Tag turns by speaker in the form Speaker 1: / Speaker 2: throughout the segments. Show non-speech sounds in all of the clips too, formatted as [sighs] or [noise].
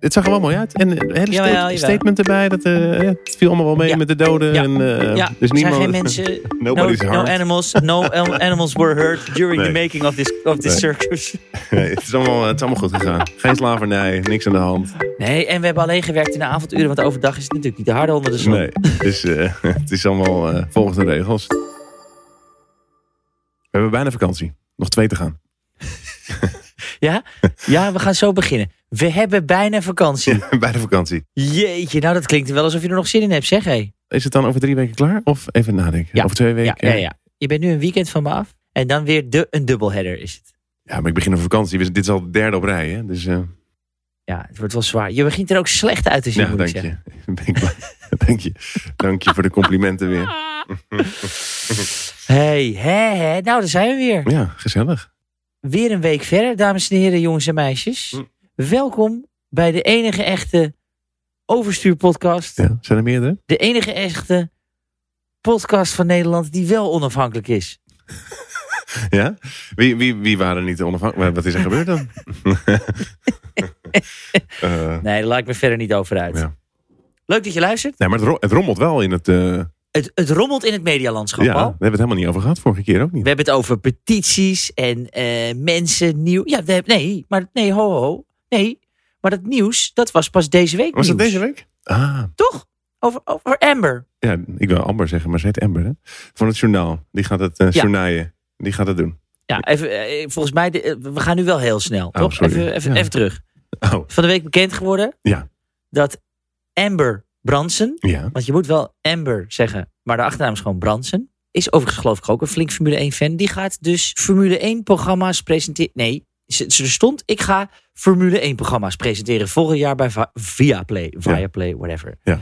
Speaker 1: Het zag er wel mooi uit. En een hele
Speaker 2: Jawel,
Speaker 1: sta-
Speaker 2: jawel.
Speaker 1: statement erbij. Dat, eh, ja, het viel allemaal wel mee
Speaker 2: Ja.
Speaker 1: met de doden.
Speaker 2: Ja.
Speaker 1: En, eh,
Speaker 2: ja,
Speaker 1: dus
Speaker 2: er zijn
Speaker 1: niemand,
Speaker 2: geen mensen.
Speaker 1: [laughs]
Speaker 2: No,
Speaker 3: Nobody's
Speaker 2: no
Speaker 3: harmed.
Speaker 2: animals. No al- animals were hurt during the
Speaker 1: Nee.
Speaker 2: making of this, of this
Speaker 1: Nee.
Speaker 2: circus.
Speaker 1: Nee, het, is allemaal, het is allemaal goed gegaan. Geen slavernij, niks aan de hand.
Speaker 2: Nee, en we hebben alleen gewerkt in de avonduren, want overdag is het natuurlijk niet de harde onder de zon.
Speaker 1: Nee, dus, eh, [laughs] het is allemaal eh, volgens de regels. We hebben bijna vakantie. Nog twee te gaan. [laughs]
Speaker 2: Ja? ja, we gaan zo beginnen. We hebben bijna vakantie.
Speaker 1: Bij de vakantie.
Speaker 2: Jeetje, nou dat klinkt wel alsof je er nog zin in hebt, zeg hé.
Speaker 1: Is het dan over drie weken klaar? Of even nadenken?
Speaker 2: Ja.
Speaker 1: Over twee
Speaker 2: Ja,
Speaker 1: weken?
Speaker 2: ja, ja. Je bent nu een weekend van me af. En dan weer de, een dubbelheader is het.
Speaker 1: Ja, maar ik begin over vakantie. Dus dit is al de derde op rij. Hè? Dus eh,
Speaker 2: Ja, het wordt wel zwaar. Je begint er ook slecht uit te zien,
Speaker 1: ja,
Speaker 2: moet ik
Speaker 1: dank
Speaker 2: zeggen.
Speaker 1: je. [laughs] Ben ik blij. dank je. Dank je voor de complimenten weer.
Speaker 2: Hey, hè, hè. Nou, daar zijn we weer.
Speaker 1: Ja, gezellig.
Speaker 2: Weer een week verder, dames en heren, jongens en meisjes.
Speaker 1: Hm.
Speaker 2: Welkom bij de enige echte Overstuurpodcast.
Speaker 1: Ja. Zijn er meerdere?
Speaker 2: De enige echte podcast van Nederland die wel onafhankelijk is.
Speaker 1: Ja? Wie, wie, wie waren er niet onafhankelijk? Wat is er gebeurd
Speaker 2: [laughs]
Speaker 1: dan? Eh,
Speaker 2: Nee, daar laat ik me verder niet over uit.
Speaker 1: Ja.
Speaker 2: Leuk dat je luistert.
Speaker 1: nee, maar het, ro- het rommelt wel in het... eh,
Speaker 2: Het, het rommelt in het medialandschap
Speaker 1: ja, daar
Speaker 2: al.
Speaker 1: hebben we het helemaal niet over gehad. Vorige keer ook niet.
Speaker 2: We hebben het over petities en eh, mensen nieuw. Ja, we hebben- nee, maar nee, ho, ho. Nee, maar dat nieuws, dat was pas deze week.
Speaker 1: Was dat
Speaker 2: nieuws.
Speaker 1: deze week? Ah,
Speaker 2: Toch? Over, over Amber.
Speaker 1: ja. Ik wil Amber zeggen, maar ze heet Amber, hè? Van het journaal. Die gaat het eh
Speaker 2: Ja.
Speaker 1: journaaien. Die gaat het doen.
Speaker 2: Ja, even, eh, volgens mij, de- eh, we gaan nu wel heel snel. toch?
Speaker 1: Oh, sorry.
Speaker 2: Even, even,
Speaker 1: Ja.
Speaker 2: even terug.
Speaker 1: Oh,
Speaker 2: Van de week bekend geworden
Speaker 1: Ja.
Speaker 2: dat Amber Bransen,
Speaker 1: ja.
Speaker 2: want je moet wel Amber zeggen, maar de achternaam is gewoon Bransen, is overigens geloof ik ook een flink Formule 1 fan. Die gaat dus Formule 1 programma's presenteren. Nee, ze, ze stond, ik ga Formule 1 programma's presenteren volgend jaar bij Va Viaplay, Viaplay, whatever.
Speaker 1: Ja.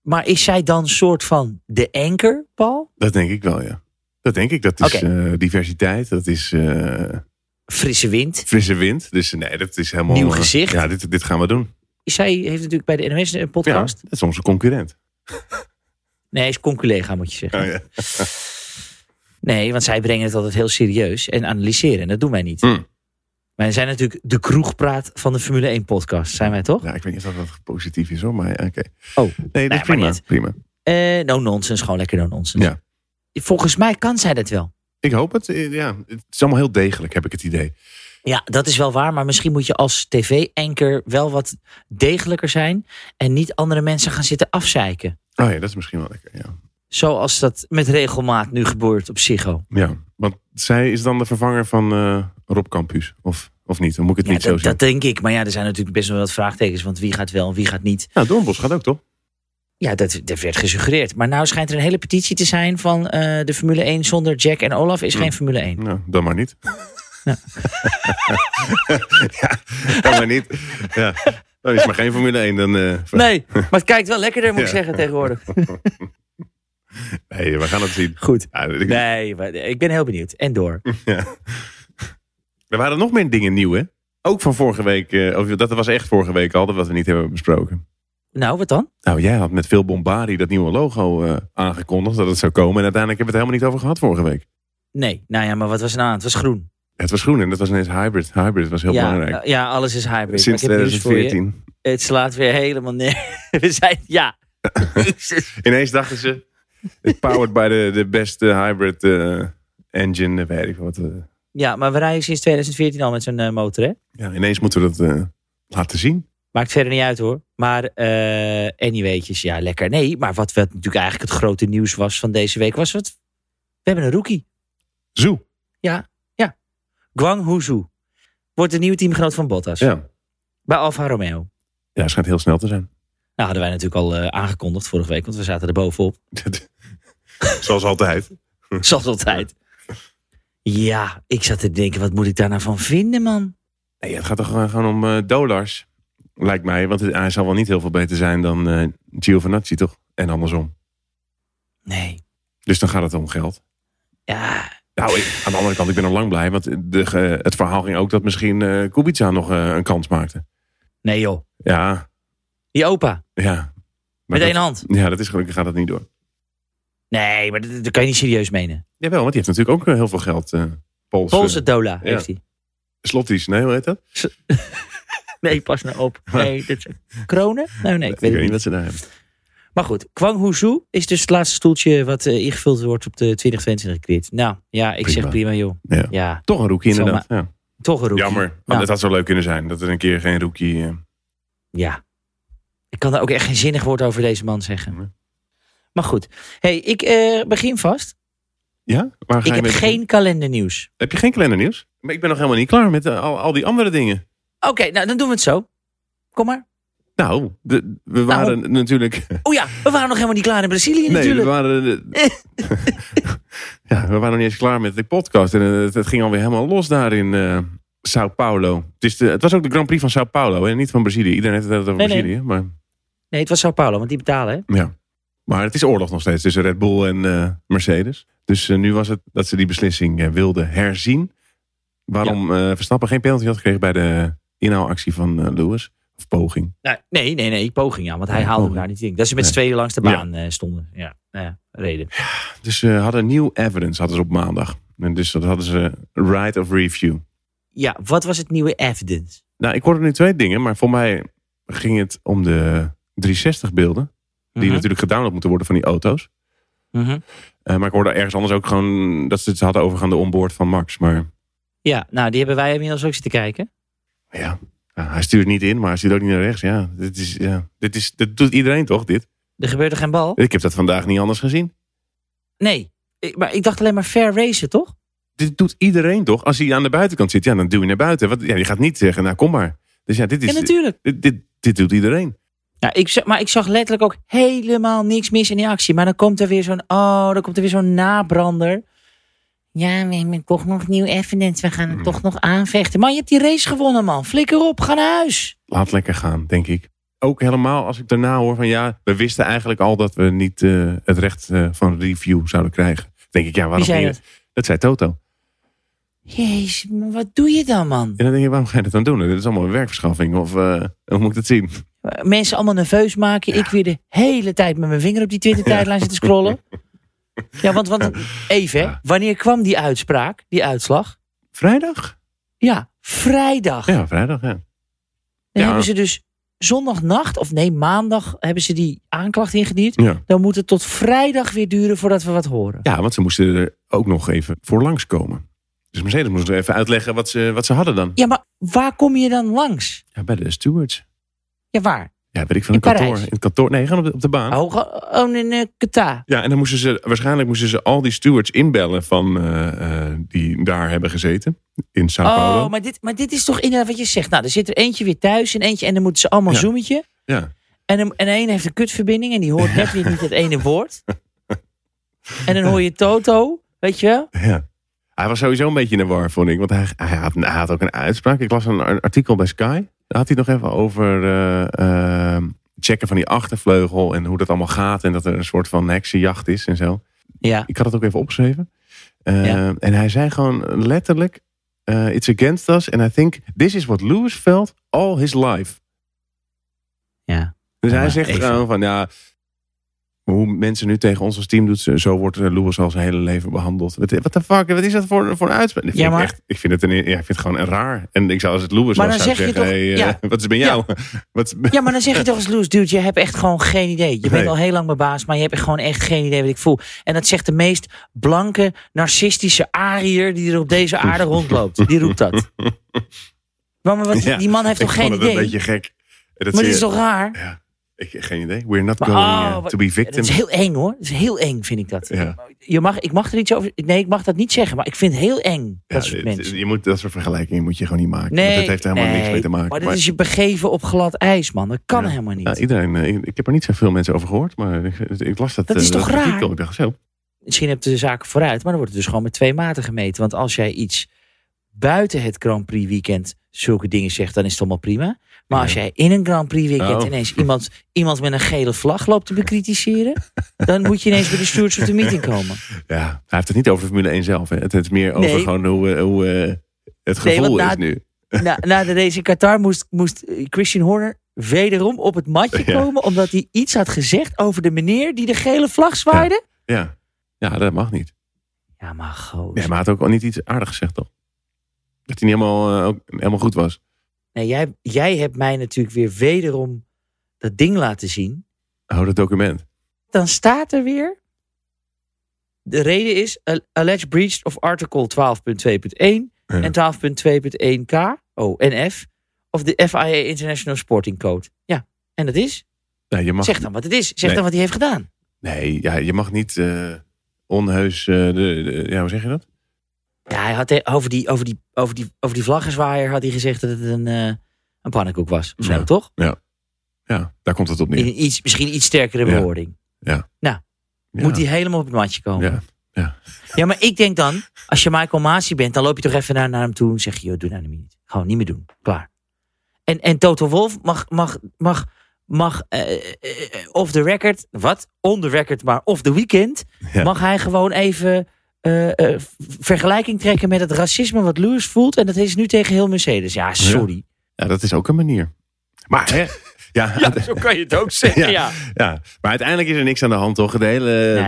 Speaker 2: Maar is zij dan soort van de anker, Paul?
Speaker 1: Dat denk ik wel, ja. Dat denk ik. Dat is
Speaker 2: Oké.
Speaker 1: eh, diversiteit. Dat is eh,
Speaker 2: Frisse wind.
Speaker 1: frisse wind. Dus nee, dat is helemaal...
Speaker 2: Nieuw
Speaker 1: eh,
Speaker 2: gezicht.
Speaker 1: ja, dit, dit gaan we doen.
Speaker 2: Zij heeft natuurlijk bij de NOS een
Speaker 1: Ja,
Speaker 2: podcast.
Speaker 1: dat is onze concurrent.
Speaker 2: Nee, hij is conculega, moet je zeggen.
Speaker 1: Oh, ja.
Speaker 2: Nee, want zij brengen het altijd heel serieus en analyseren. En dat doen wij niet.
Speaker 1: Hmm.
Speaker 2: Wij zijn natuurlijk de kroegpraat van de Formule 1 podcast, zijn wij toch?
Speaker 1: Ja, ik weet niet of dat positief is hoor, maar ja, oké.
Speaker 2: Oh,
Speaker 1: Nee, dat
Speaker 2: maar
Speaker 1: is prima,
Speaker 2: niet.
Speaker 1: prima.
Speaker 2: eh, no nonsense, gewoon lekker no nonsense.
Speaker 1: Ja.
Speaker 2: Volgens mij kan zij dat wel.
Speaker 1: Ik hoop het. eh, Ja, het is allemaal heel degelijk, heb ik het idee.
Speaker 2: Ja, dat is wel waar, maar misschien moet je als tv-anker wel wat degelijker zijn en niet andere mensen gaan zitten afzeiken.
Speaker 1: Oh ja, dat is misschien wel lekker. Ja,
Speaker 2: Zoals dat met regelmaat nu gebeurt op Psycho.
Speaker 1: ja want zij is dan de vervanger van eh, Rob Campus, of, of niet? Dan moet ik het
Speaker 2: Ja,
Speaker 1: niet zo
Speaker 2: dat,
Speaker 1: zeggen.
Speaker 2: dat denk ik. Maar ja, er zijn natuurlijk best wel wat vraagtekens, want wie gaat wel en wie gaat niet.
Speaker 1: Nou, Doornbos gaat ook, toch?
Speaker 2: Ja, dat, dat werd gesuggereerd. Maar nou schijnt er een hele petitie te zijn van eh, de Formule 1 zonder Jack en Olaf is geen Formule 1.
Speaker 1: Nou, dan maar niet. [laughs] ja, dan maar niet. Ja, dan is maar geen Formule 1. Dan, eh, ver- [laughs]
Speaker 2: Nee, maar het kijkt wel lekkerder, moet ik
Speaker 1: Ja.
Speaker 2: zeggen, tegenwoordig.
Speaker 1: Nee, we gaan het zien.
Speaker 2: Goed.
Speaker 1: Ja, ik- Hm.
Speaker 2: Nee, maar ik ben heel benieuwd. En door.
Speaker 1: Er waren nog meer dingen nieuw, hè? Ook van vorige week. eh, of, dat was echt vorige week al, dat wat we niet hebben besproken.
Speaker 2: Nou, wat dan?
Speaker 1: Nou, jij had met veel bombardie dat nieuwe logo eh, aangekondigd dat het zou komen. En uiteindelijk hebben we het helemaal niet over gehad vorige week.
Speaker 2: Nee, nou ja, maar wat was er nou aan? Het was groen.
Speaker 1: Het was groen en dat was ineens hybrid. Hybrid was heel
Speaker 2: ja,
Speaker 1: belangrijk.
Speaker 2: eh, ja, alles is hybrid.
Speaker 1: Sinds
Speaker 2: maar ik heb nieuws voor je.
Speaker 1: 2014.
Speaker 2: Het slaat weer helemaal neer. [laughs] We zijn,
Speaker 1: [laughs]
Speaker 2: ja. Jezus.
Speaker 1: Ineens dachten ze, it's powered by the, the best eh, hybrid eh, engine. eh, Weet ik wat. eh.
Speaker 2: Ja, maar we rijden sinds 2014 al met zo'n eh, motor, hè?
Speaker 1: ja, ineens moeten we dat eh, laten zien.
Speaker 2: Maakt verder niet uit hoor. Maar eh anyway'tjes, ja lekker. Nee, maar wat, wat natuurlijk eigenlijk het grote nieuws was van deze week was wat... We hebben een rookie.
Speaker 1: Zo.
Speaker 2: Guang Huzu. Wordt de nieuwe teamgenoot van Bottas.
Speaker 1: Ja.
Speaker 2: Bij Alfa Romeo.
Speaker 1: ja, het schijnt heel snel te zijn. [laughs]
Speaker 2: Nou hadden wij natuurlijk al eh, aangekondigd vorige week. Want we zaten er
Speaker 1: [laughs]
Speaker 2: bovenop.
Speaker 1: Zoals altijd.
Speaker 2: Zoals altijd. Ja, ik zat te denken, wat moet ik daar nou van vinden man?
Speaker 1: Nee, het gaat toch gewoon gewoon om eh, dollars, lijkt mij. Want hij zal wel niet heel veel beter zijn dan eh Giovinazzi, toch? En andersom.
Speaker 2: Nee.
Speaker 1: Dus dan gaat het om geld.
Speaker 2: Ja,
Speaker 1: Nou, ik- aan de andere kant, ik ben al lang blij. Want de, ge- het verhaal ging ook dat misschien eh, Kubica nog eh, een kans maakte.
Speaker 2: nee joh.
Speaker 1: Ja,
Speaker 2: Die opa.
Speaker 1: ja. Maar
Speaker 2: Met één
Speaker 1: dat-
Speaker 2: hand.
Speaker 1: Ja, dat is gelukkig gaat dat niet door.
Speaker 2: Nee, maar dat, dat kan je niet serieus menen.
Speaker 1: Jawel, want die heeft natuurlijk ook eh, heel veel geld. eh Poolse,
Speaker 2: Poolse Dola heeft hij.
Speaker 1: Slotties, nee, hoe heet dat?
Speaker 2: Nee, pas nou op. Nee, dit is... Kronen? Nou, nee, ik weet het niet.
Speaker 1: wat ze daar hebben.
Speaker 2: Maar goed, Kwang Hoezhu is dus het laatste stoeltje wat eh, ingevuld wordt op de 2022 grid. Nou, ja, ik zeg prima
Speaker 1: Prima.
Speaker 2: joh.
Speaker 1: Ja.
Speaker 2: Ja,
Speaker 1: Toch een rookie
Speaker 2: Zal
Speaker 1: inderdaad. Ja.
Speaker 2: toch een rookie.
Speaker 1: Jammer, want
Speaker 2: Nou.
Speaker 1: het had zo leuk kunnen zijn dat er een keer geen rookie... eh,
Speaker 2: Ja. Ik kan daar ook echt geen zinnig woord over deze man zeggen.
Speaker 1: Nee.
Speaker 2: Maar goed. hey, ik eh, begin vast.
Speaker 1: ja? Waar ga
Speaker 2: Ik
Speaker 1: je
Speaker 2: heb
Speaker 1: mee beginnen?
Speaker 2: geen kalendernieuws.
Speaker 1: Heb je geen kalendernieuws? Maar ik ben nog helemaal niet klaar met eh, al, al die andere dingen.
Speaker 2: Oké, nou dan doen we het zo. Kom maar.
Speaker 1: Nou, de- we waren [laughs]
Speaker 2: [laughs]
Speaker 1: natuurlijk...
Speaker 2: Oh ja, we waren nog helemaal niet klaar in Brazilië
Speaker 1: Nee, we
Speaker 2: natuurlijk.
Speaker 1: waren... [laughs]
Speaker 2: [laughs]
Speaker 1: eh, ja, we waren nog niet eens klaar met de podcast. En eh, het, het ging alweer helemaal los daar in eh Sao Paulo. Het, is de, het was ook de Grand Prix van Sao Paulo en niet van Brazilië. Iedereen heeft het altijd over
Speaker 2: Nee, nee.
Speaker 1: Brazilië. Maar,
Speaker 2: Nee, het was Sao Paulo, want die betalen hè.
Speaker 1: ja. maar het is oorlog nog steeds tussen Red Bull en eh, Mercedes. Dus eh, nu was het dat ze die beslissing eh, wilden herzien. Waarom eh, Verstappen geen penalty had gekregen bij de inhaalactie van eh, Lewis. Of poging.
Speaker 2: Nou, nee, nee, nee, poging ja, want hij
Speaker 1: Ja,
Speaker 2: haalde hem
Speaker 1: Oh, poging.
Speaker 2: daar niet in. Dat ze met z'n
Speaker 1: Nee.
Speaker 2: tweeën langs de
Speaker 1: Ja.
Speaker 2: baan eh, stonden. Ja, nou ja, reden.
Speaker 1: Dus ze hadden nieuw evidence hadden ze op maandag. En dus dat hadden ze right of review.
Speaker 2: Ja, wat was het nieuwe evidence?
Speaker 1: Nou, ik hoorde nu twee dingen, maar voor mij ging het om de 360 beelden. Die
Speaker 2: Mhm,
Speaker 1: natuurlijk gedownload moeten worden van die auto's.
Speaker 2: mhm.
Speaker 1: Eh, maar ik hoorde ergens anders ook gewoon dat ze het hadden over aan de onboard van Max. Maar
Speaker 2: Ja, nou, die hebben wij inmiddels ook zitten kijken.
Speaker 1: ja, ja, hij stuurt niet in, maar hij stuurt ook niet naar rechts. Ja, dit is, ja, dit is, dat doet iedereen toch, dit?
Speaker 2: Er gebeurde geen bal.
Speaker 1: Ik heb dat vandaag niet anders gezien.
Speaker 2: Nee, ik- maar ik dacht alleen maar fair racen, toch?
Speaker 1: Dit doet iedereen toch? Als hij aan de buitenkant zit, ja, dan duw je naar buiten. Want ja, je gaat niet zeggen, nou kom maar. Dus ja, dit,
Speaker 2: Ja,
Speaker 1: is,
Speaker 2: natuurlijk.
Speaker 1: dit, dit, dit doet iedereen.
Speaker 2: Ja, ik, zag- maar ik zag letterlijk ook helemaal niks mis in die actie. Maar dan komt er weer zo'n, oh, dan komt er weer zo'n nabrander. Ja, we hebben toch nog nieuw evidence. We gaan het
Speaker 1: Hmm.
Speaker 2: toch nog aanvechten. Man, je hebt die race gewonnen, man. Flikker op, ga naar huis.
Speaker 1: laat lekker gaan, denk ik. Ook helemaal als ik daarna hoor van ja, we wisten eigenlijk al dat we niet eh, het recht eh, van review zouden krijgen. Denk ik, ja,
Speaker 2: Wie
Speaker 1: waarom
Speaker 2: zei
Speaker 1: ging
Speaker 2: dat?
Speaker 1: je- Dat zei Toto.
Speaker 2: Jezus, maar wat doe je dan, man?
Speaker 1: En dan denk je, waarom ga je dat dan doen? Dit is allemaal een werkverschaffing of eh, hoe moet ik dat zien?
Speaker 2: Mensen allemaal nerveus maken. Ik weer de hele tijd met mijn vinger op die Twitter-tijdlijn zitten
Speaker 1: [laughs]
Speaker 2: scrollen. Ja, want, want even, hè.
Speaker 1: Ja.
Speaker 2: wanneer kwam die uitspraak, die uitslag?
Speaker 1: Vrijdag?
Speaker 2: Ja, vrijdag.
Speaker 1: Ja, vrijdag, ja.
Speaker 2: Dan
Speaker 1: Ja.
Speaker 2: hebben ze dus zondagnacht, of nee, maandag hebben ze die aanklacht ingediend.
Speaker 1: ja.
Speaker 2: Dan moet het tot vrijdag weer duren voordat we wat horen.
Speaker 1: Ja, want ze moesten er ook nog even voor langskomen. Dus Mercedes moest er even uitleggen wat ze, wat ze hadden dan.
Speaker 2: Ja, maar waar kom je dan langs?
Speaker 1: Ja, bij de stewards.
Speaker 2: Ja, waar?
Speaker 1: Ja, weet ik van
Speaker 2: In
Speaker 1: een kantoor.
Speaker 2: Parijs?
Speaker 1: In het kantoor. Nee, gaan op de, op de baan.
Speaker 2: Oh, oh in eh, Qatar.
Speaker 1: Ja, en dan moesten ze, waarschijnlijk moesten ze al die stewards inbellen van eh, eh, die daar hebben gezeten. In Sao Paulo.
Speaker 2: Oh, maar dit, maar dit is toch inderdaad wat je zegt. Nou, er zit er eentje weer thuis en eentje en dan moeten ze allemaal
Speaker 1: Ja.
Speaker 2: zoemetje.
Speaker 1: Ja.
Speaker 2: En, een- en de ene heeft een kutverbinding en die hoort net weer niet het ene woord. En dan hoor je Toto, weet je wel?
Speaker 1: ja. Hij was sowieso een beetje in de war, vond ik. Want hij, hij, had, hij had ook een uitspraak. Ik las een ar- artikel bij Sky. Daar had hij het nog even over eh, eh, checken van die achtervleugel. En hoe dat allemaal gaat. En dat er een soort van heksenjacht is en zo.
Speaker 2: Ja,
Speaker 1: Ik had het ook even opgeschreven. Eh,
Speaker 2: Ja.
Speaker 1: En hij zei gewoon letterlijk... eh, it's against us and I think this is what Lewis felt all his life.
Speaker 2: ja.
Speaker 1: Dus
Speaker 2: Ja,
Speaker 1: hij
Speaker 2: maar
Speaker 1: zegt
Speaker 2: even.
Speaker 1: gewoon van ja, hoe mensen nu tegen ons als team doen, zo- zo wordt eh, Lewis al zijn hele leven behandeld. Wat eh, what the fuck, wat is dat voor, voor een uitspraak? Dat
Speaker 2: Ja,
Speaker 1: vind
Speaker 2: maar-
Speaker 1: ik, echt, ik, vind het een, ja, ik vind het gewoon raar. En ik zou als het Lewis
Speaker 2: Maar
Speaker 1: was,
Speaker 2: dan
Speaker 1: zou ik
Speaker 2: zeg je
Speaker 1: zeggen,
Speaker 2: toch-
Speaker 1: hey, eh,
Speaker 2: ja.
Speaker 1: [laughs] wat is bij
Speaker 2: Ja.
Speaker 1: jou? Wat
Speaker 2: [laughs]
Speaker 1: is-
Speaker 2: ja, maar dan zeg je toch als Loes, dude, je hebt echt gewoon geen idee. Je bent
Speaker 1: Nee.
Speaker 2: al heel lang mijn baas, maar je hebt echt gewoon echt geen idee wat ik voel. En dat zegt de meest blanke, narcistische Ariër die er op deze aarde rondloopt. Die roept dat. Maar, maar wat,
Speaker 1: Ja,
Speaker 2: die man heeft
Speaker 1: ik
Speaker 2: toch
Speaker 1: vond
Speaker 2: geen
Speaker 1: het
Speaker 2: idee?
Speaker 1: een beetje gek. Eh, Dat
Speaker 2: maar
Speaker 1: zie
Speaker 2: dit is
Speaker 1: je-
Speaker 2: toch raar?
Speaker 1: Ja, ik, geen idee. We're not
Speaker 2: Maar-
Speaker 1: going
Speaker 2: oh,
Speaker 1: eh,
Speaker 2: wat-
Speaker 1: to be
Speaker 2: Het is
Speaker 1: victims.
Speaker 2: heel eng hoor. Het is heel eng, vind ik dat.
Speaker 1: Ja.
Speaker 2: Je mag, ik mag er iets over. Nee, ik mag dat niet zeggen, maar ik vind het heel eng.
Speaker 1: Ja,
Speaker 2: Dat soort
Speaker 1: dit-
Speaker 2: mensen.
Speaker 1: je moet, dat soort vergelijkingen moet je gewoon niet maken.
Speaker 2: Nee,
Speaker 1: want dat heeft er helemaal
Speaker 2: nee,
Speaker 1: niks mee te maken.
Speaker 2: Maar dit
Speaker 1: Maar-
Speaker 2: is je begeven op glad ijs, man. Dat kan
Speaker 1: Ja.
Speaker 2: helemaal niet.
Speaker 1: Ja, iedereen, eh, ik, ik heb er niet zoveel mensen over gehoord, maar ik, ik las dat.
Speaker 2: Dat
Speaker 1: eh,
Speaker 2: is toch
Speaker 1: artikel.
Speaker 2: raar?
Speaker 1: Ik dacht zo.
Speaker 2: Misschien heb je de zaken vooruit, maar dan wordt het dus gewoon met twee maten gemeten. Want als jij iets buiten het Grand Prix weekend zulke dingen zegt, dan is het allemaal prima. Maar als
Speaker 1: Ja.
Speaker 2: jij in een Grand Prix weekend
Speaker 1: Oh.
Speaker 2: ineens iemand, iemand met een gele vlag loopt
Speaker 1: [laughs]
Speaker 2: te bekritiseren, dan moet je ineens bij de stewards op de meeting komen.
Speaker 1: Ja, hij heeft het niet over Formule 1 zelf. Hè. Het is meer over
Speaker 2: Nee.
Speaker 1: gewoon hoe, eh, hoe eh, het
Speaker 2: Nee,
Speaker 1: gevoel
Speaker 2: want na-
Speaker 1: is nu.
Speaker 2: na, na de race in Qatar moest, moest eh, Christian Horner wederom op het matje
Speaker 1: Ja.
Speaker 2: komen. Omdat hij iets had gezegd over de meneer die de gele vlag zwaaide.
Speaker 1: Ja. ja, dat mag niet.
Speaker 2: Ja, maar goh.
Speaker 1: Nee, maar hij had ook al niet iets aardigs gezegd, toch? Dat hij niet helemaal, eh, ook helemaal goed was.
Speaker 2: Nee, Nou, jij, jij hebt mij natuurlijk weer wederom dat ding laten zien.
Speaker 1: Hou dat document.
Speaker 2: Dan staat er weer. De reden is a- alleged breach of article 12.2.1
Speaker 1: Ja.
Speaker 2: en 12.2.1k, oh, en F, of de FIA International Sporting Code. Ja, en dat is?
Speaker 1: Nee, je mag,
Speaker 2: Zeg dan wat het is. Zeg
Speaker 1: Nee.
Speaker 2: dan wat hij heeft gedaan.
Speaker 1: nee, ja, je mag niet eh, onheus. eh, de, de- ja, hoe zeg je dat?
Speaker 2: Ja, hij had eh, over die, over die, over die, over die vlaggenzwaaier had hij gezegd dat het een, eh een pannenkoek was. Of zo,
Speaker 1: Ja.
Speaker 2: toch?
Speaker 1: Ja, daar komt het op
Speaker 2: In
Speaker 1: neer.
Speaker 2: een iets, misschien iets sterkere
Speaker 1: Ja.
Speaker 2: bewoording.
Speaker 1: Ja.
Speaker 2: Moet hij helemaal op het matje komen.
Speaker 1: Ja.
Speaker 2: Ja, maar ik denk dan, als je Michael Masi bent, dan loop je toch even naar, naar hem toe en zeg je, joh, doe nou niet. Gewoon niet meer doen. Klaar. En, en Toto Wolf mag, mag, mag, mag eh, eh, eh, off the record, wat? On the record, maar off the weekend,
Speaker 1: Ja.
Speaker 2: mag hij gewoon even eh, eh, v- vergelijking trekken met het racisme wat Lewis voelt. En dat is nu tegen heel Mercedes. Ja, sorry.
Speaker 1: ja, dat is ook een manier. Maar,
Speaker 2: [laughs]
Speaker 1: hè, ja,
Speaker 2: zo kan je het
Speaker 1: [laughs]
Speaker 2: ook zeggen,
Speaker 1: ja. ja, maar uiteindelijk is er niks aan de hand, toch? De hele de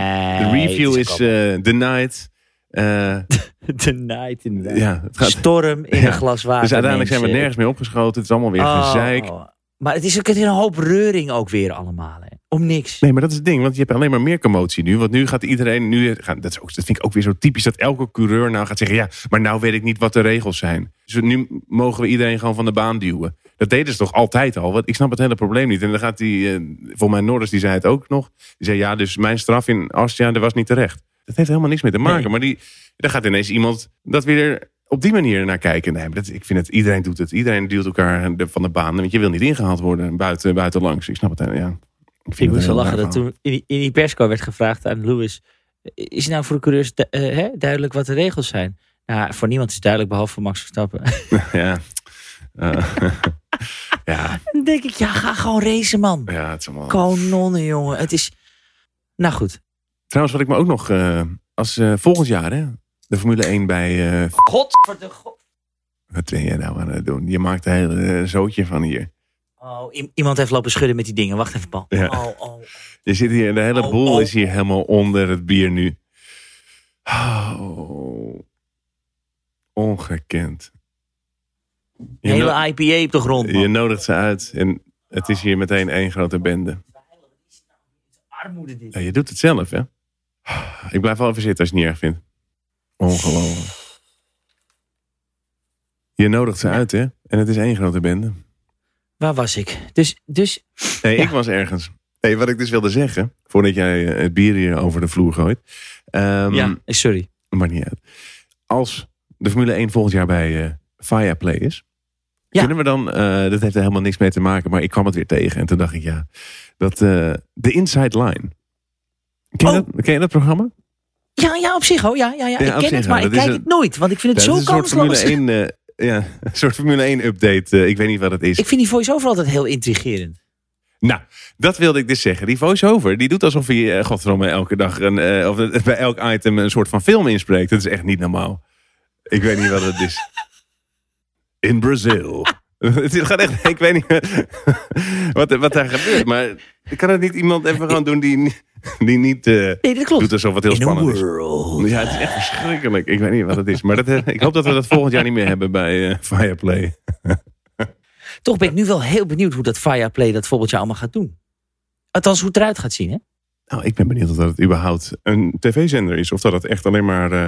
Speaker 2: Nee,
Speaker 1: review
Speaker 2: het
Speaker 1: is eh, denied. Eh,
Speaker 2: [laughs] The night inderdaad.
Speaker 1: ja, het gaat,
Speaker 2: Storm in
Speaker 1: Ja.
Speaker 2: een glas water.
Speaker 1: dus uiteindelijk zijn we
Speaker 2: mensen.
Speaker 1: nergens mee opgeschoten. Het is allemaal weer
Speaker 2: Oh,
Speaker 1: gezeik.
Speaker 2: Maar het is ook een hoop reuring ook weer allemaal. Hè. Om niks.
Speaker 1: Nee, maar dat is het ding. Want je hebt alleen maar meer commotie nu. Want nu gaat iedereen... Nu, gaan- dat, is ook, dat vind ik ook weer zo typisch. Dat elke coureur nou gaat zeggen... Ja, maar nou weet ik niet wat de regels zijn. Dus nu mogen we iedereen gewoon van de baan duwen. Dat deden ze toch altijd al? Want ik snap het hele probleem niet. En dan gaat die... eh, volgens mij Norris, die zei het ook nog. Die zei, ja, dus mijn straf in Austria, dat was niet terecht. Dat heeft helemaal niks mee te maken.
Speaker 2: Nee.
Speaker 1: Maar die, daar gaat ineens iemand dat weer op die manier naar kijken. Nee, maar dat, ik vind het... Iedereen doet het. Iedereen duwt elkaar de- van de baan. Want je wil niet ingehaald worden buiten, buitenlangs. Ik snap het. eh, Ja. Ik,
Speaker 2: Ik
Speaker 1: vind
Speaker 2: moest
Speaker 1: het
Speaker 2: wel
Speaker 1: heel
Speaker 2: lachen
Speaker 1: raar
Speaker 2: dat toen in die, in die persco werd gevraagd aan Lewis. Is nou voor de coureurs du- eh, hè, duidelijk wat de regels zijn? Nou, voor niemand is het duidelijk behalve voor Max Verstappen. [laughs]
Speaker 1: Ja. Eh, ja,
Speaker 2: Dan denk ik, ja, ga gewoon racen, man.
Speaker 1: ja, het is allemaal.
Speaker 2: Kanonnen, jongen. Het is. Nou goed.
Speaker 1: Trouwens, wat ik me ook nog. eh, als eh, volgend jaar, hè? De Formule 1 bij. eh
Speaker 2: God voor de god.
Speaker 1: wat ben jij nou aan het doen? Je maakt een hele eh, zootje van hier.
Speaker 2: Oh, i- iemand heeft lopen schudden met die dingen. Wacht even, Paul.
Speaker 1: Ja.
Speaker 2: Oh, oh.
Speaker 1: Er zit hier, de hele
Speaker 2: Oh,
Speaker 1: boel
Speaker 2: oh.
Speaker 1: is hier helemaal onder het bier nu. Oh. Ongekend.
Speaker 2: Een
Speaker 1: Je, no-
Speaker 2: hele IPA op de grond. Man.
Speaker 1: je nodigt ze uit en het is hier meteen één grote bende.
Speaker 2: nou Armoede dit.
Speaker 1: Ja, je doet het zelf, hè? Ik blijf wel even zitten als je het niet erg vindt. Ongelooflijk. Je nodigt ze uit, hè? En het is één grote bende.
Speaker 2: Waar was ik? Dus, dus
Speaker 1: Nee, ik was ergens. Hey, wat ik dus wilde zeggen, voordat jij eh, het bier hier over de vloer gooit. Ehm,
Speaker 2: ja, eh, sorry.
Speaker 1: Maar niet uit. Als de Formule 1 volgend jaar bij eh Viaplay is.
Speaker 2: Ja.
Speaker 1: Kunnen we dan, eh, dat heeft er helemaal niks mee te maken, maar ik kwam het weer tegen. En toen dacht ik, ja, dat eh, de Inside Line. Ken, je
Speaker 2: Oh.
Speaker 1: dat, ken je dat programma?
Speaker 2: Ja, ja, op zich, oh ja, ja, ja.
Speaker 1: Ja,
Speaker 2: ik
Speaker 1: op
Speaker 2: ken
Speaker 1: zich,
Speaker 2: het, maar
Speaker 1: ja, dat
Speaker 2: ik
Speaker 1: is
Speaker 2: kijk
Speaker 1: een-
Speaker 2: het nooit, want ik vind het
Speaker 1: Ja,
Speaker 2: zo
Speaker 1: het is een soort
Speaker 2: kansloos.
Speaker 1: Formule 1, eh, ja, [laughs] een soort Formule 1 update. eh, ik weet niet wat het is.
Speaker 2: Ik vind die voice-over altijd heel intrigerend.
Speaker 1: Nou, dat wilde ik dus zeggen. Die voice-over, die doet alsof hij, eh godverdomme, elke dag een, eh, of eh, bij elk item een soort van film inspreekt. Dat is echt niet normaal. Ik weet niet wat het is.
Speaker 2: [laughs]
Speaker 1: In Brazil. [laughs] het gaat echt, ik weet niet [laughs] wat, wat daar gebeurt. Maar kan het niet iemand even gewoon doen die, die niet eh,
Speaker 2: Nee, dat klopt.
Speaker 1: doet alsof het heel
Speaker 2: In a
Speaker 1: spannend is?
Speaker 2: world.
Speaker 1: Ja, het is echt verschrikkelijk. Ik weet niet wat het is. Maar dat, eh, ik hoop dat we dat volgend jaar niet meer hebben bij eh Fireplay.
Speaker 2: Toch ben ik nu wel heel benieuwd hoe dat Fireplay dat volgend jaar allemaal gaat doen. Althans, hoe het eruit gaat zien, hè?
Speaker 1: Nou, ik ben benieuwd of dat het überhaupt een tv-zender is. Of dat het echt alleen maar eh,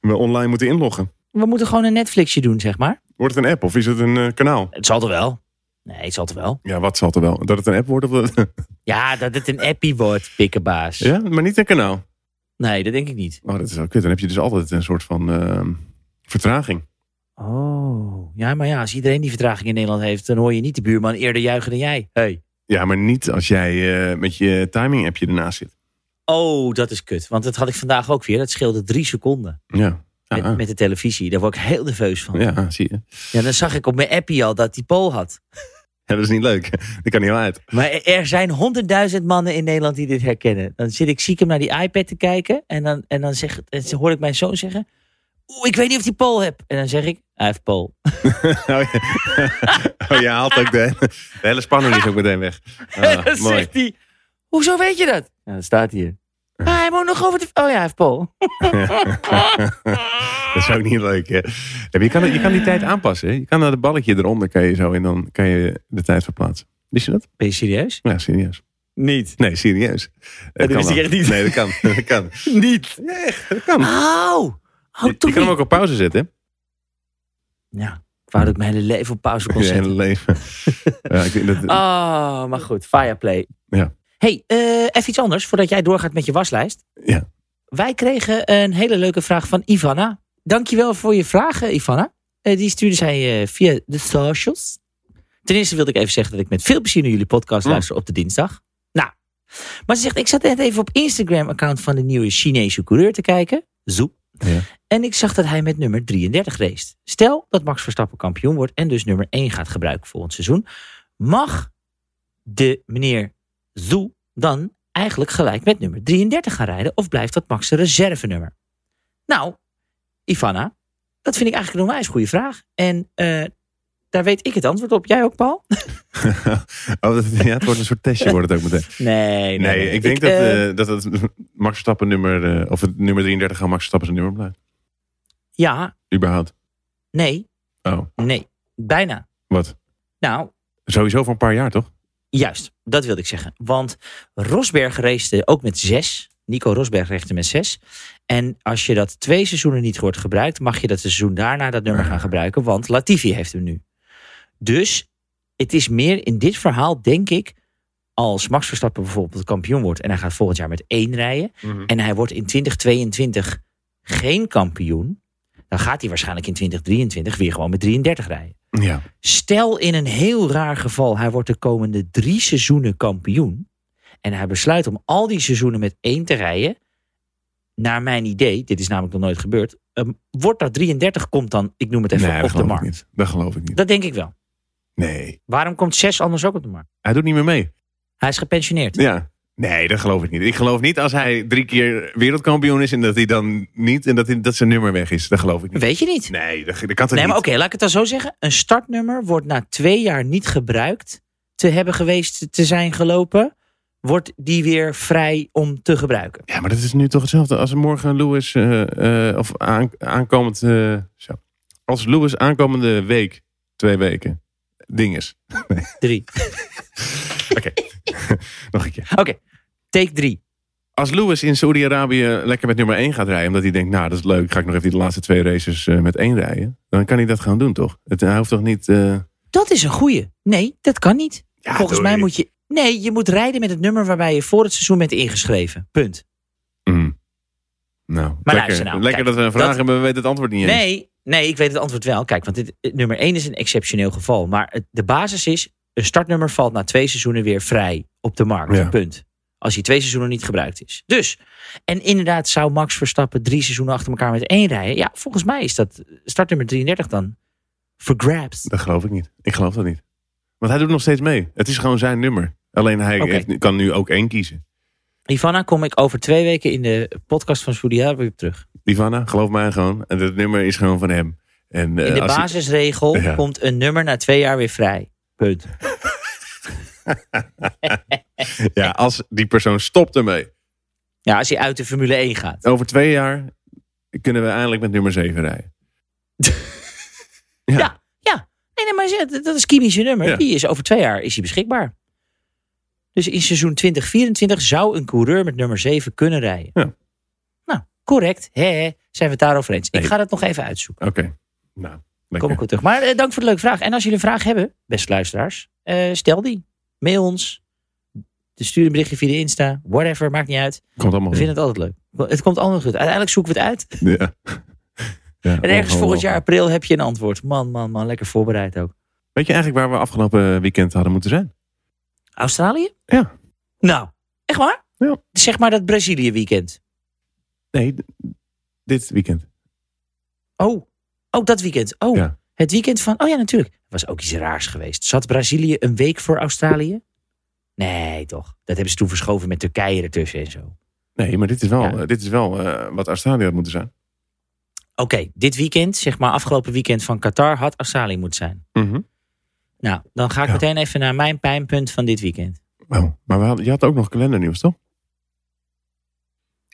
Speaker 1: we online moeten inloggen.
Speaker 2: We moeten gewoon een Netflixje doen, zeg maar.
Speaker 1: Wordt het een app of is het een eh, kanaal?
Speaker 2: Het zal er wel. Nee, het zal er wel.
Speaker 1: Ja, wat zal het er wel? Dat het een app wordt? Of dat-
Speaker 2: Ja, dat het een appie wordt, pikkenbaas.
Speaker 1: ja, maar niet een kanaal.
Speaker 2: Nee, dat denk ik niet.
Speaker 1: Oh, dat is wel kut. Dan heb je dus altijd een soort van eh, vertraging.
Speaker 2: Oh, ja, maar ja, als iedereen die vertraging in Nederland heeft, dan hoor je niet de buurman eerder juichen dan jij. Hey.
Speaker 1: Ja, maar niet als jij eh, met je timing-appje ernaast zit.
Speaker 2: Oh, dat is kut. Want dat had ik vandaag ook weer. Dat scheelde drie seconden
Speaker 1: Ja, ja,
Speaker 2: met, met de televisie. Daar word ik heel nerveus van. Ja.
Speaker 1: ja ah, zie je.
Speaker 2: dan zag ik op mijn appie al dat die Pool had.
Speaker 1: Ja, dat is niet leuk. [laughs] Dat kan niet wel uit.
Speaker 2: Maar er- er zijn honderdduizend mannen in Nederland die dit herkennen. Dan zit ik ziek om naar die iPad te kijken. En dan, en dan, zeg, en dan hoor ik mijn zoon zeggen... Oeh, ik weet niet of die Pool heb. En dan zeg ik, hij heeft Pool.
Speaker 1: Oh, ja. [laughs] Oh, je haalt ook de, de hele spanning is ook meteen
Speaker 2: [laughs]
Speaker 1: weg.
Speaker 2: en
Speaker 1: Ah,
Speaker 2: dan
Speaker 1: mooi.
Speaker 2: zegt hij, hoezo weet je dat? Ja, dat staat hier. Ah, hij moet nog over de... Oh ja, hij heeft Pool.
Speaker 1: Dat is ook niet leuk. Hè? Nee, maar Je, kan, je kan die tijd aanpassen. Hè? Je kan naar het balletje eronder kan je zo en dan kan je de tijd verplaatsen. Wist je dat? Oh,
Speaker 2: Ben je serieus?
Speaker 1: Ja, serieus.
Speaker 2: Niet.
Speaker 1: Nee, serieus. Dat
Speaker 2: wist ik
Speaker 1: wel.
Speaker 2: echt niet.
Speaker 1: Nee, dat
Speaker 2: [laughs]
Speaker 1: kan. Dat kan.
Speaker 2: Niet.
Speaker 1: Ja, echt, dat kan.
Speaker 2: Au!
Speaker 1: Je,
Speaker 2: Hou
Speaker 1: je
Speaker 2: Oh, toch
Speaker 1: kan hem
Speaker 2: niet.
Speaker 1: ook op pauze zetten. hè?
Speaker 2: Ja, ik wou dat ik mijn hele leven op pauze kon
Speaker 1: Je hele
Speaker 2: zetten. [laughs]
Speaker 1: leven. Ja, ik vind dat,
Speaker 2: Oh, maar goed. Fireplay.
Speaker 1: Ja.
Speaker 2: hey, eh, even iets anders voordat jij doorgaat met je waslijst.
Speaker 1: Ja.
Speaker 2: Wij kregen een hele leuke vraag van Ivana. Dankjewel voor je vragen, Ivana. Eh, die stuurde zij eh, via de socials. Ten eerste wilde ik even zeggen dat ik met veel plezier naar jullie podcast
Speaker 1: Mm.
Speaker 2: luister op de dinsdag. Nou, maar ze zegt, ik zat net even op Instagram-account van de nieuwe Chinese coureur te kijken. Zoep.
Speaker 1: Ja.
Speaker 2: En ik zag dat hij met nummer 33 race. Stel dat Max Verstappen kampioen wordt en dus nummer 1 gaat gebruiken volgend seizoen. Mag de meneer Zhu dan eigenlijk gelijk met nummer 33 gaan rijden? Of blijft dat Max' reservenummer? Nou, Ivana, dat vind ik eigenlijk een onwijs goede vraag. En eh, daar weet ik het antwoord op. Jij ook, Paul?
Speaker 1: [laughs] oh, dat, ja, het wordt een soort testje wordt het ook meteen.
Speaker 2: Nee,
Speaker 1: Nee, ik denk dat,
Speaker 2: eh,
Speaker 1: eh, dat het Max Verstappen nummer... eh, of het nummer 33 aan Max Verstappen zijn nummer blijft.
Speaker 2: ja,
Speaker 1: Überhaupt.
Speaker 2: nee,
Speaker 1: Oh,
Speaker 2: nee, bijna.
Speaker 1: wat?
Speaker 2: Nou,
Speaker 1: Sowieso voor een paar jaar, toch?
Speaker 2: Juist, dat wilde ik zeggen. Want Rosberg race ook met zes. Nico Rosberg rechte met zes. En als je dat twee seizoenen niet wordt gebruikt, mag je dat seizoen daarna dat nummer gaan gebruiken. Want Latifi heeft hem nu. Dus het is meer in dit verhaal, denk ik, als Max Verstappen bijvoorbeeld kampioen wordt en hij gaat volgend jaar met één rijden. En hij wordt in 2022 geen kampioen. Dan gaat hij waarschijnlijk in 2023 weer gewoon met 33 rijden.
Speaker 1: Ja.
Speaker 2: Stel in een heel raar geval, hij wordt de komende drie seizoenen kampioen. En hij besluit om al die seizoenen met één te rijden. Naar mijn idee, dit is namelijk nog nooit gebeurd. ehm, wordt dat 33, komt dan, ik noem het even,
Speaker 1: nee, dat
Speaker 2: op de
Speaker 1: geloof ik
Speaker 2: markt.
Speaker 1: niet. Dat geloof ik niet.
Speaker 2: Dat denk ik wel.
Speaker 1: Nee.
Speaker 2: Waarom komt 6 anders ook op de markt?
Speaker 1: Hij doet niet meer mee.
Speaker 2: Hij is gepensioneerd.
Speaker 1: Ja. Nee, dat geloof ik niet. Ik geloof niet als hij drie keer wereldkampioen is en dat hij dan niet en dat, hij, dat zijn nummer weg is. Dat geloof ik niet.
Speaker 2: Weet je niet.
Speaker 1: Nee, dat, dat kan toch
Speaker 2: Nee, maar
Speaker 1: niet?
Speaker 2: oké, laat ik het dan zo zeggen. Een startnummer wordt na twee jaar niet gebruikt te hebben geweest te zijn gelopen. Wordt die weer vrij om te gebruiken.
Speaker 1: Ja, maar dat is nu toch hetzelfde als morgen Lewis eh, eh, of aan- aankomend eh, zo. Als Lewis aankomende week, twee weken, dinges.
Speaker 2: Drie.
Speaker 1: Nog een keer.
Speaker 2: Oké, take drie.
Speaker 1: Als Lewis in Saoedi-Arabië lekker met nummer 1 gaat rijden, omdat hij denkt, nou dat is leuk, ga ik nog even die laatste twee races eh, met één rijden, dan kan hij dat gaan doen toch? Het, hij hoeft toch niet. eh,
Speaker 2: Dat is een goeie. Nee, dat kan niet.
Speaker 1: ja,
Speaker 2: Volgens
Speaker 1: doei.
Speaker 2: mij moet je. Nee, je moet rijden met het nummer waarbij je voor het seizoen bent ingeschreven. Punt.
Speaker 1: Mm. Nou, lekker,
Speaker 2: luister nou,
Speaker 1: lekker
Speaker 2: kijk,
Speaker 1: dat we een vraag
Speaker 2: dat-
Speaker 1: hebben, we weten het antwoord niet eens.
Speaker 2: Nee, nee, ik weet het antwoord wel. Kijk, want dit, eh, nummer 1 is een exceptioneel geval. Maar het- de basis is: een startnummer valt na twee seizoenen weer vrij op de markt.
Speaker 1: Ja.
Speaker 2: Punt. Als hij twee seizoenen niet gebruikt is. Dus, en inderdaad, zou Max Verstappen drie seizoenen achter elkaar met één rijden? Ja, volgens mij is dat startnummer 33 dan voor grabs.
Speaker 1: Dat geloof ik niet. Ik geloof dat niet. Want hij doet nog steeds mee. Het is gewoon zijn nummer. Alleen hij
Speaker 2: Oké.
Speaker 1: heeft- kan nu ook één kiezen.
Speaker 2: Ivana, kom ik over twee weken in de podcast van Saudi weer terug.
Speaker 1: Ivana, geloof mij gewoon. En dat nummer is gewoon van hem. En, eh,
Speaker 2: In de
Speaker 1: als hij-
Speaker 2: basisregel
Speaker 1: Ja.
Speaker 2: komt een nummer na twee jaar weer vrij. Punt.
Speaker 1: ja, als die persoon stopt ermee.
Speaker 2: Ja, als hij uit de Formule 1 gaat.
Speaker 1: Over twee jaar kunnen we eindelijk met nummer 7 rijden. Ja.
Speaker 2: Ja, ja. Nee, nee, maar ze- dat- dat is Kimi zijn nummer.
Speaker 1: Ja.
Speaker 2: Die is over twee jaar is hij beschikbaar. Dus in seizoen 2024 zou een coureur met nummer 7 kunnen rijden.
Speaker 1: Ja.
Speaker 2: Nou, correct. Hè, hè. zijn we het daarover eens? Ik
Speaker 1: Nee.
Speaker 2: ga dat nog even uitzoeken.
Speaker 1: Oké. Nou, lekker.
Speaker 2: Kom ik op terug. Maar eh, dank voor de leuke vraag. En als jullie een vraag hebben, beste luisteraars, eh, stel die. Mail ons. Stuur een berichtje via de Insta. Whatever, maakt niet uit.
Speaker 1: Komt allemaal
Speaker 2: We
Speaker 1: goed.
Speaker 2: vinden het altijd leuk. Het komt allemaal goed. Uiteindelijk zoeken we het uit. [laughs]
Speaker 1: Ja. Ja,
Speaker 2: En ergens
Speaker 1: ongelooflijk.
Speaker 2: volgend jaar april heb je een antwoord. Man, man, man. Lekker voorbereid ook.
Speaker 1: Weet je eigenlijk waar we afgelopen weekend hadden moeten zijn?
Speaker 2: Australië?
Speaker 1: Ja.
Speaker 2: Nou, echt waar?
Speaker 1: Ja.
Speaker 2: Zeg maar dat Brazilië weekend.
Speaker 1: Nee, d- dit weekend.
Speaker 2: Oh, oh dat weekend. Oh,
Speaker 1: Ja.
Speaker 2: het weekend van... Oh ja, natuurlijk. Er was ook iets raars geweest. Zat Brazilië een week voor Australië? Nee, toch. Dat hebben ze toen verschoven met Turkije ertussen en zo. Oké,
Speaker 1: Nee, maar dit is wel,
Speaker 2: Ja.
Speaker 1: eh, dit is wel eh, wat Australië had moeten zijn.
Speaker 2: dit weekend, zeg maar afgelopen weekend van Qatar, had Australië moeten zijn.
Speaker 1: Mhm.
Speaker 2: Nou, dan ga ik
Speaker 1: Ja.
Speaker 2: meteen even naar mijn pijnpunt van dit weekend.
Speaker 1: Oh, maar we hadden- je had ook nog kalendernieuws, toch?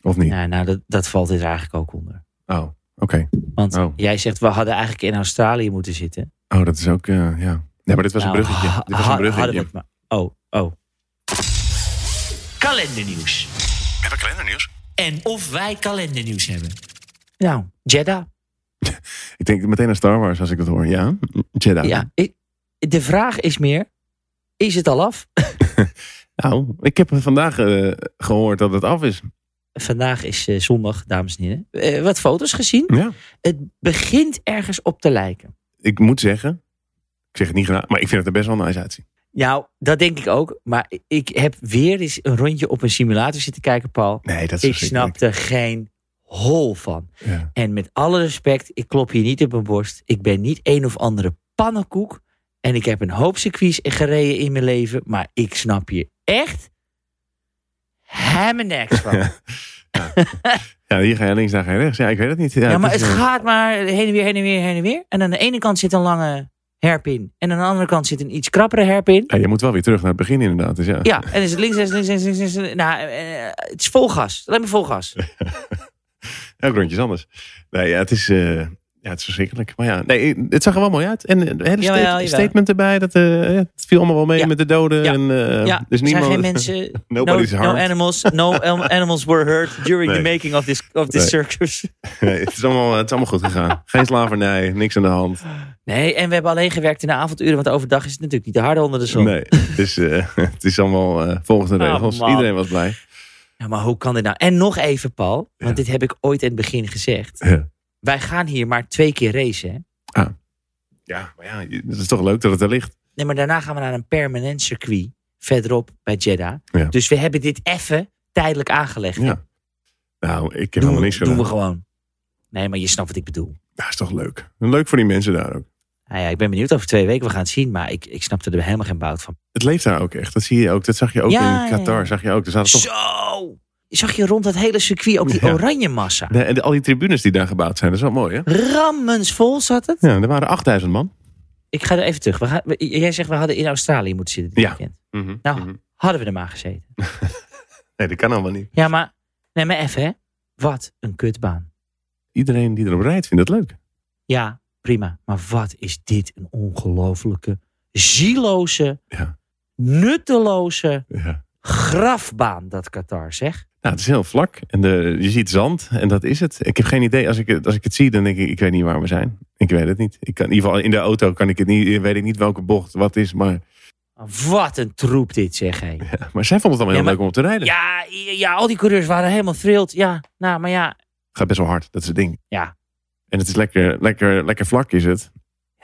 Speaker 1: Of niet?
Speaker 2: Nou, nou dat, dat valt dit eigenlijk ook onder.
Speaker 1: Oh, oké. Oké.
Speaker 2: Want
Speaker 1: Oh.
Speaker 2: jij zegt, we hadden eigenlijk in Australië moeten zitten.
Speaker 1: Oh, dat is ook, eh, ja. Nee, maar dit was een
Speaker 2: Nou,
Speaker 1: bruggetje. Dit was
Speaker 2: ha-
Speaker 1: een
Speaker 2: hadden we
Speaker 1: bruggetje.
Speaker 2: het maar- Oh, oh. Kalendernieuws.
Speaker 1: Heb ik kalendernieuws?
Speaker 2: En of wij kalendernieuws hebben. Nou, Jeddah.
Speaker 1: Ik denk meteen aan Star Wars als ik dat hoor. Ja, Jedi.
Speaker 2: Ja, ik- de vraag is meer, is het al af?
Speaker 1: Nou, ik heb vandaag eh, gehoord dat het af is.
Speaker 2: Vandaag is eh, zondag, dames en heren. Eh, wat foto's gezien.
Speaker 1: Ja.
Speaker 2: Het begint ergens op te lijken.
Speaker 1: Ik moet zeggen, ik zeg het niet graag, maar ik vind het er best wel nice uitzien.
Speaker 2: Nou, dat denk ik ook. Maar ik heb weer eens een rondje op een simulator zitten kijken, Paul.
Speaker 1: Nee, dat is
Speaker 2: Ik
Speaker 1: verschrikkelijk.
Speaker 2: snap er geen hol van.
Speaker 1: Ja.
Speaker 2: En met alle respect, ik klop hier niet op mijn borst. Ik ben niet een of andere pannenkoek. En ik heb een hoop circuits gereden in mijn leven. Maar ik snap hier echt hemmeniks
Speaker 1: [laughs]
Speaker 2: van.
Speaker 1: ja, hier ga je links, daar ga je rechts. Ja, ik weet het niet. Ja,
Speaker 2: Ja, maar
Speaker 1: is,
Speaker 2: het
Speaker 1: eh,
Speaker 2: gaat maar heen en weer, heen en weer, heen en weer. En aan de ene kant zit een lange herp in. En aan de andere kant zit een iets krappere herp in.
Speaker 1: ja, je moet wel weer terug naar het begin inderdaad. Dus ja.
Speaker 2: Ja, en is het links, rechts, links, rechts, links, links, links. Nou, eh, het is vol gas. Alleen maar vol gas.
Speaker 1: Elk rondje is anders. Nee, ja, het is, eh, ja, het is verschrikkelijk. Maar ja, nee, het zag er wel mooi uit. En eh, de hele
Speaker 2: Jawel,
Speaker 1: state-
Speaker 2: jawel.
Speaker 1: statement erbij. Dat, eh, het viel allemaal wel mee
Speaker 2: Ja.
Speaker 1: met de doden.
Speaker 2: Ja.
Speaker 1: En, eh,
Speaker 2: ja,
Speaker 1: dus
Speaker 2: er zijn
Speaker 1: niemand,
Speaker 2: geen mensen. No,
Speaker 1: Nobody's
Speaker 2: no
Speaker 1: harmed.
Speaker 2: animals. No
Speaker 1: [laughs]
Speaker 2: an- animals were hurt during the
Speaker 1: Nee.
Speaker 2: making of this, of this
Speaker 1: Nee.
Speaker 2: circus.
Speaker 1: [laughs] Nee, het, is allemaal, het is allemaal goed gegaan. Geen slavernij, niks aan de hand.
Speaker 2: Nee, en we hebben alleen gewerkt in de avonduren. Want overdag is het natuurlijk niet te hard onder de zon.
Speaker 1: Nee, dus, eh, [laughs] het is allemaal eh, volgens de
Speaker 2: Ah,
Speaker 1: regels.
Speaker 2: man.
Speaker 1: Iedereen was blij.
Speaker 2: Ja, maar hoe kan dit nou? En nog even, Paul. Want dit heb ik ooit in het begin gezegd.
Speaker 1: Ja.
Speaker 2: Wij gaan hier maar twee keer racen. hè?
Speaker 1: Ja, maar ja, het is toch leuk dat het er ligt.
Speaker 2: Nee, maar daarna gaan we naar een permanent circuit. Verderop bij Jeddah.
Speaker 1: Ja.
Speaker 2: Dus we hebben dit even tijdelijk aangelegd.
Speaker 1: Ja, Nou, ik heb
Speaker 2: doen,
Speaker 1: helemaal
Speaker 2: we,
Speaker 1: niks
Speaker 2: doen
Speaker 1: gedaan.
Speaker 2: we gewoon. Nee, maar je snapt wat ik bedoel.
Speaker 1: Ja, is toch leuk. En leuk voor die mensen daar ook.
Speaker 2: Nou ja, ik ben benieuwd over twee weken. We gaan het zien. Maar ik, ik snapte er helemaal geen bout van.
Speaker 1: Het leeft daar ook echt. Dat zie je ook. Dat zag je ook
Speaker 2: Ja,
Speaker 1: in
Speaker 2: ja,
Speaker 1: Qatar.
Speaker 2: ja.
Speaker 1: Zag je ook. Er zaten toch...
Speaker 2: Zo! Zag je rond dat hele circuit ook die
Speaker 1: Ja.
Speaker 2: oranje massa?
Speaker 1: De- en de- al die tribunes die daar gebouwd zijn. Dat is wel mooi, hè?
Speaker 2: Rammensvol zat het.
Speaker 1: Ja, er waren 8000 man.
Speaker 2: Ik ga er even terug. We gaan, we- jij zegt we hadden in Australië moeten zitten dit
Speaker 1: Ja.
Speaker 2: weekend.
Speaker 1: Mhm,
Speaker 2: Nou.
Speaker 1: mhm.
Speaker 2: Hadden we er maar gezeten.
Speaker 1: Nee, dat kan allemaal niet.
Speaker 2: Ja, maar neem maar even hè. Wat een kutbaan.
Speaker 1: Iedereen die erop rijdt vindt het leuk.
Speaker 2: Ja, prima. Maar wat is dit een ongelofelijke, zieloze,
Speaker 1: Ja.
Speaker 2: nutteloze
Speaker 1: Ja.
Speaker 2: grafbaan dat Qatar zeg.
Speaker 1: Nou, het is heel vlak. En de, je ziet zand. En dat is het. Ik heb geen idee. Als ik, het- als ik het zie, dan denk ik, ik weet niet waar we zijn. Ik weet het niet. Ik kan, in ieder geval in de auto kan ik het niet. Weet ik niet welke bocht wat is. Maar,
Speaker 2: Wat een troep dit zeg hé.
Speaker 1: maar zij vond het allemaal heel
Speaker 2: Ja, maar-
Speaker 1: leuk om op te rijden.
Speaker 2: Ja, ja, al die coureurs waren helemaal thrilled. Ja, nou, maar ja.
Speaker 1: Gaat best wel hard. Dat is het ding.
Speaker 2: Ja.
Speaker 1: En het is lekker, lekker, lekker vlak is het.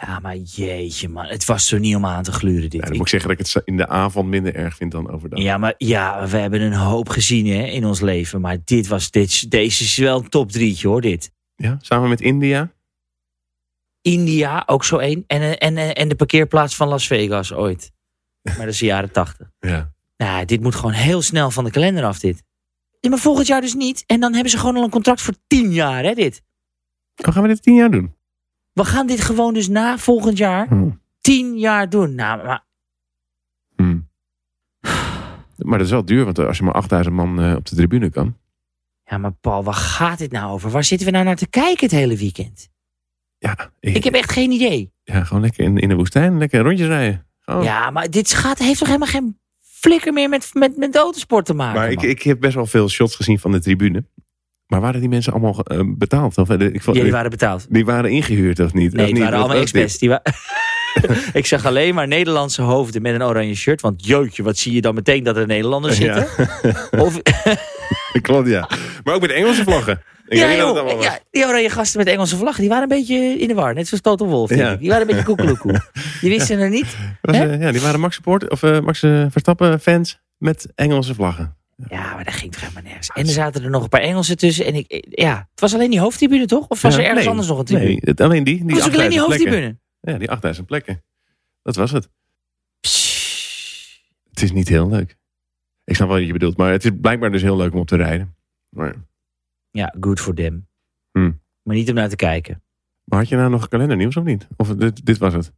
Speaker 2: Ja, maar jeetje man. Het was zo niet om aan te gluren
Speaker 1: Ja,
Speaker 2: dit.
Speaker 1: dan moet ik zeggen dat ik het in de avond minder erg vind dan overdag.
Speaker 2: Ja, maar ja, we hebben een hoop gezien hè, in ons leven. Maar dit was, dit, deze is wel een top drietje hoor, dit.
Speaker 1: Ja, Samen met India.
Speaker 2: India, ook zo één. En, eh, en, eh, en de parkeerplaats van Las Vegas
Speaker 1: [laughs]
Speaker 2: ooit. Maar dat is de jaren tachtig.
Speaker 1: Ja.
Speaker 2: Nou, dit moet gewoon heel snel van de kalender af, dit. Ja, maar volgend jaar dus niet. En dan hebben ze gewoon al een contract voor tien jaar, hè, dit.
Speaker 1: Dan gaan we dit tien jaar doen.
Speaker 2: We gaan dit gewoon dus na volgend jaar
Speaker 1: Hm.
Speaker 2: tien jaar doen. Nou, maar
Speaker 1: Hm. [sighs] Maar dat is wel duur, want als je maar 8000 man eh, op de tribune kan.
Speaker 2: Ja, maar Paul, waar gaat dit nou over? Waar zitten we nou naar te kijken het hele weekend?
Speaker 1: Ja,
Speaker 2: Ik heb echt geen idee.
Speaker 1: ja gewoon lekker in, in de woestijn, lekker rondjes rijden. Gewoon.
Speaker 2: Ja, maar dit gaat, heeft toch helemaal geen flikker meer met, met, met autosport te maken?
Speaker 1: maar ik,
Speaker 2: man?
Speaker 1: ik heb best wel veel shots gezien van de tribune. Maar waren die mensen allemaal eh, betaald? Of, eh, ik vond,
Speaker 2: Ja, die
Speaker 1: die, waren...
Speaker 2: waren betaald.
Speaker 1: ingehuurd of niet?
Speaker 2: Nee,
Speaker 1: Of
Speaker 2: het
Speaker 1: niet?
Speaker 2: waren
Speaker 1: Wat
Speaker 2: allemaal
Speaker 1: was dit?
Speaker 2: experts. Die wa- [laughs] ik zag alleen maar Nederlandse hoofden met een oranje shirt. Want jeutje, wat zie je dan meteen dat er Nederlanders
Speaker 1: Ja. [laughs]
Speaker 2: zitten? Of,
Speaker 1: Klopt, ja. Maar ook met Engelse vlaggen. Ik
Speaker 2: ja,
Speaker 1: weet niet wat het
Speaker 2: joh,
Speaker 1: allemaal was.
Speaker 2: ja, die oranje gasten met Engelse vlag, die waren een beetje in de war. Net zoals Total Wolf, denk
Speaker 1: Ja.
Speaker 2: ik. Die waren een beetje koekeloekoe.
Speaker 1: [laughs]
Speaker 2: Je wist er nog niet.
Speaker 1: Was,
Speaker 2: Hè?
Speaker 1: eh, ja, die waren Max, support, of, eh, Max eh, Verstappen fans met Engelse vlaggen.
Speaker 2: Ja, maar dat ging toch helemaal nergens. En er zaten er nog een paar Engelsen tussen. En ik, ja, het was alleen die hoofdtribune toch? Of was
Speaker 1: Ja,
Speaker 2: er ergens
Speaker 1: nee.
Speaker 2: anders nog een tribune?
Speaker 1: Nee, het- alleen die.
Speaker 2: Het
Speaker 1: die
Speaker 2: was ook alleen die
Speaker 1: 8000 plekken.
Speaker 2: hoofdtribune.
Speaker 1: Ja, die 8000 plekken. Dat was het.
Speaker 2: Pssst.
Speaker 1: Het is niet heel leuk. Ik snap wel wat je bedoelt, maar het is blijkbaar dus heel leuk om op te rijden. Maar,
Speaker 2: Ja, good for them.
Speaker 1: Hmm.
Speaker 2: Maar niet om naar te kijken.
Speaker 1: maar had je nou nog kalendernieuws of niet? Of dit, dit was het?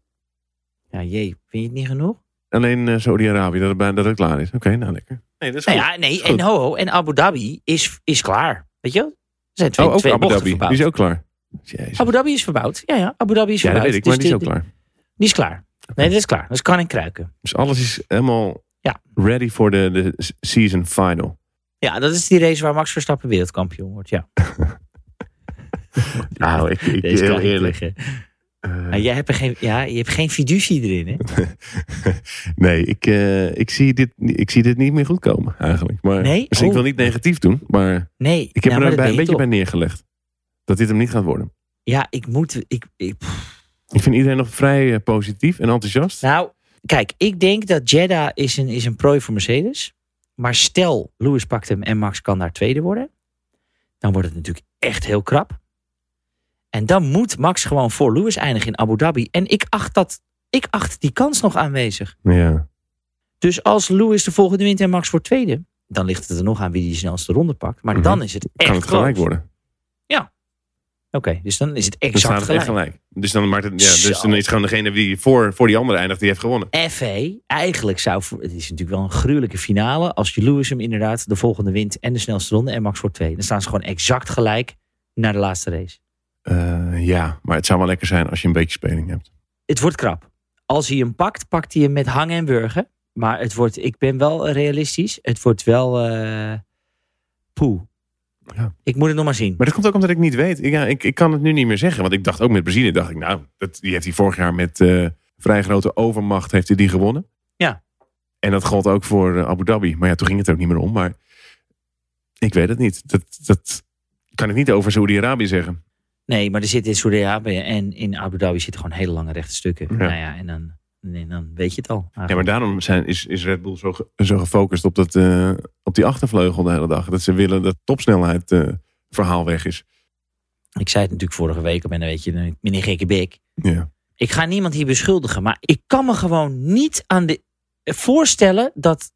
Speaker 2: Ja, jee, vind je het niet genoeg?
Speaker 1: Alleen eh, Saudi-Arabië, dat, het bij- dat het klaar is. Oké, nou lekker. Nee, dat is goed.
Speaker 2: Nou ja, nee,
Speaker 1: Goed.
Speaker 2: en ho, ho, en Abu Dhabi is, is klaar. Weet je wel? Er zijn twee,
Speaker 1: oh, ook
Speaker 2: twee
Speaker 1: Abu
Speaker 2: bochten
Speaker 1: Dhabi. Die
Speaker 2: verbouwd.
Speaker 1: is ook klaar. Jezus.
Speaker 2: Abu Dhabi is verbouwd. Ja, ja, Abu Dhabi is
Speaker 1: Ja, dat
Speaker 2: verbouwd.
Speaker 1: weet ik,
Speaker 2: Dus
Speaker 1: maar die is ook
Speaker 2: de-
Speaker 1: klaar.
Speaker 2: Die is klaar. Nee, dat is klaar. Dat is kan en kruiken.
Speaker 1: Dus alles is helemaal
Speaker 2: Ja.
Speaker 1: ready voor de, de season final.
Speaker 2: Ja, dat is die race waar Max Verstappen wereldkampioen wordt. Ja,
Speaker 1: Nou, ik, ik
Speaker 2: Deze
Speaker 1: heel
Speaker 2: kan ik
Speaker 1: eerlijk.
Speaker 2: zeggen.
Speaker 1: eh,
Speaker 2: Maar jij hebt er geen, ja, je hebt geen fiducie erin, hè?
Speaker 1: [laughs] nee, ik, eh, ik, zie dit, ni- ik zie dit niet meer goed komen eigenlijk. Maar,
Speaker 2: Nee?
Speaker 1: Dus ik
Speaker 2: Oh.
Speaker 1: wil niet negatief doen, maar
Speaker 2: Nee.
Speaker 1: ik heb
Speaker 2: nou,
Speaker 1: me
Speaker 2: maar
Speaker 1: er
Speaker 2: dat
Speaker 1: bij, een
Speaker 2: weet
Speaker 1: beetje
Speaker 2: je
Speaker 1: bij neergelegd. Dat dit hem niet gaat worden.
Speaker 2: toch. Ja, ik moet... Ik, ik, pff.
Speaker 1: Ik vind iedereen nog vrij eh, positief en enthousiast.
Speaker 2: nou, kijk, ik denk dat Jeddah is een, is een prooi voor Mercedes. Maar stel, Lewis pakt hem en Max kan daar tweede worden. Dan wordt het natuurlijk echt heel krap. En dan moet Max gewoon voor Lewis eindigen in Abu Dhabi. En ik acht, dat, ik acht die kans nog aanwezig.
Speaker 1: Ja.
Speaker 2: Dus als Lewis de volgende wint en Max wordt tweede... dan ligt het er nog aan wie die snelste ronde pakt. Maar
Speaker 1: Mhm.
Speaker 2: dan is het echt
Speaker 1: Kan het gelijk
Speaker 2: close.
Speaker 1: worden.
Speaker 2: Oké, dus dan is het
Speaker 1: Dan staat
Speaker 2: exact
Speaker 1: het
Speaker 2: gelijk.
Speaker 1: echt gelijk. Dus dan, maakt het, ja, dus
Speaker 2: Zo.
Speaker 1: dan is gewoon degene die voor, voor die andere eindigt, die heeft gewonnen.
Speaker 2: FA, eigenlijk zou... voor- Het is natuurlijk wel een gruwelijke finale... als je Lewis hem inderdaad de volgende wint... en de snelste ronde en Max wordt tweede. Dan staan ze gewoon exact gelijk naar de laatste race.
Speaker 1: Eh, ja, maar het zou wel lekker zijn als je een beetje speling hebt.
Speaker 2: Het wordt krap. Als hij hem pakt, pakt hij hem met hangen en burgen. Maar het wordt... Ik ben wel realistisch. Het wordt wel... eh poeh.
Speaker 1: Ja.
Speaker 2: Ik moet het nog maar zien.
Speaker 1: Maar dat komt ook omdat ik niet weet. Ik- Ja, ik, ik kan het nu niet meer zeggen. Want ik dacht ook met Brazilië, dacht ik, nou, dat, die heeft hij vorig jaar met eh, vrij grote overmacht heeft hij die gewonnen.
Speaker 2: Ja.
Speaker 1: En dat gold ook voor eh, Abu Dhabi. Maar ja, toen ging het ook niet meer om. Maar ik weet het niet. Dat, dat kan ik niet over Saoedi-Arabië zeggen.
Speaker 2: Nee, maar er zitten in Saudi-Arabië en in Abu Dhabi zitten gewoon hele lange rechte stukken.
Speaker 1: Ja.
Speaker 2: Nou ja, en dan, en dan weet je het al.
Speaker 1: Ja, maar daarom zijn, is, is Red Bull zo, ge- zo gefocust op, dat, eh, op die achtervleugel de hele dag. Dat ze willen dat topsnelheid eh, verhaal weg is.
Speaker 2: Ik zei het natuurlijk vorige week op en dan weet je, dan- meneer Gekke Bik.
Speaker 1: Ja.
Speaker 2: Ik ga niemand hier beschuldigen, maar ik kan me gewoon niet aan de voorstellen dat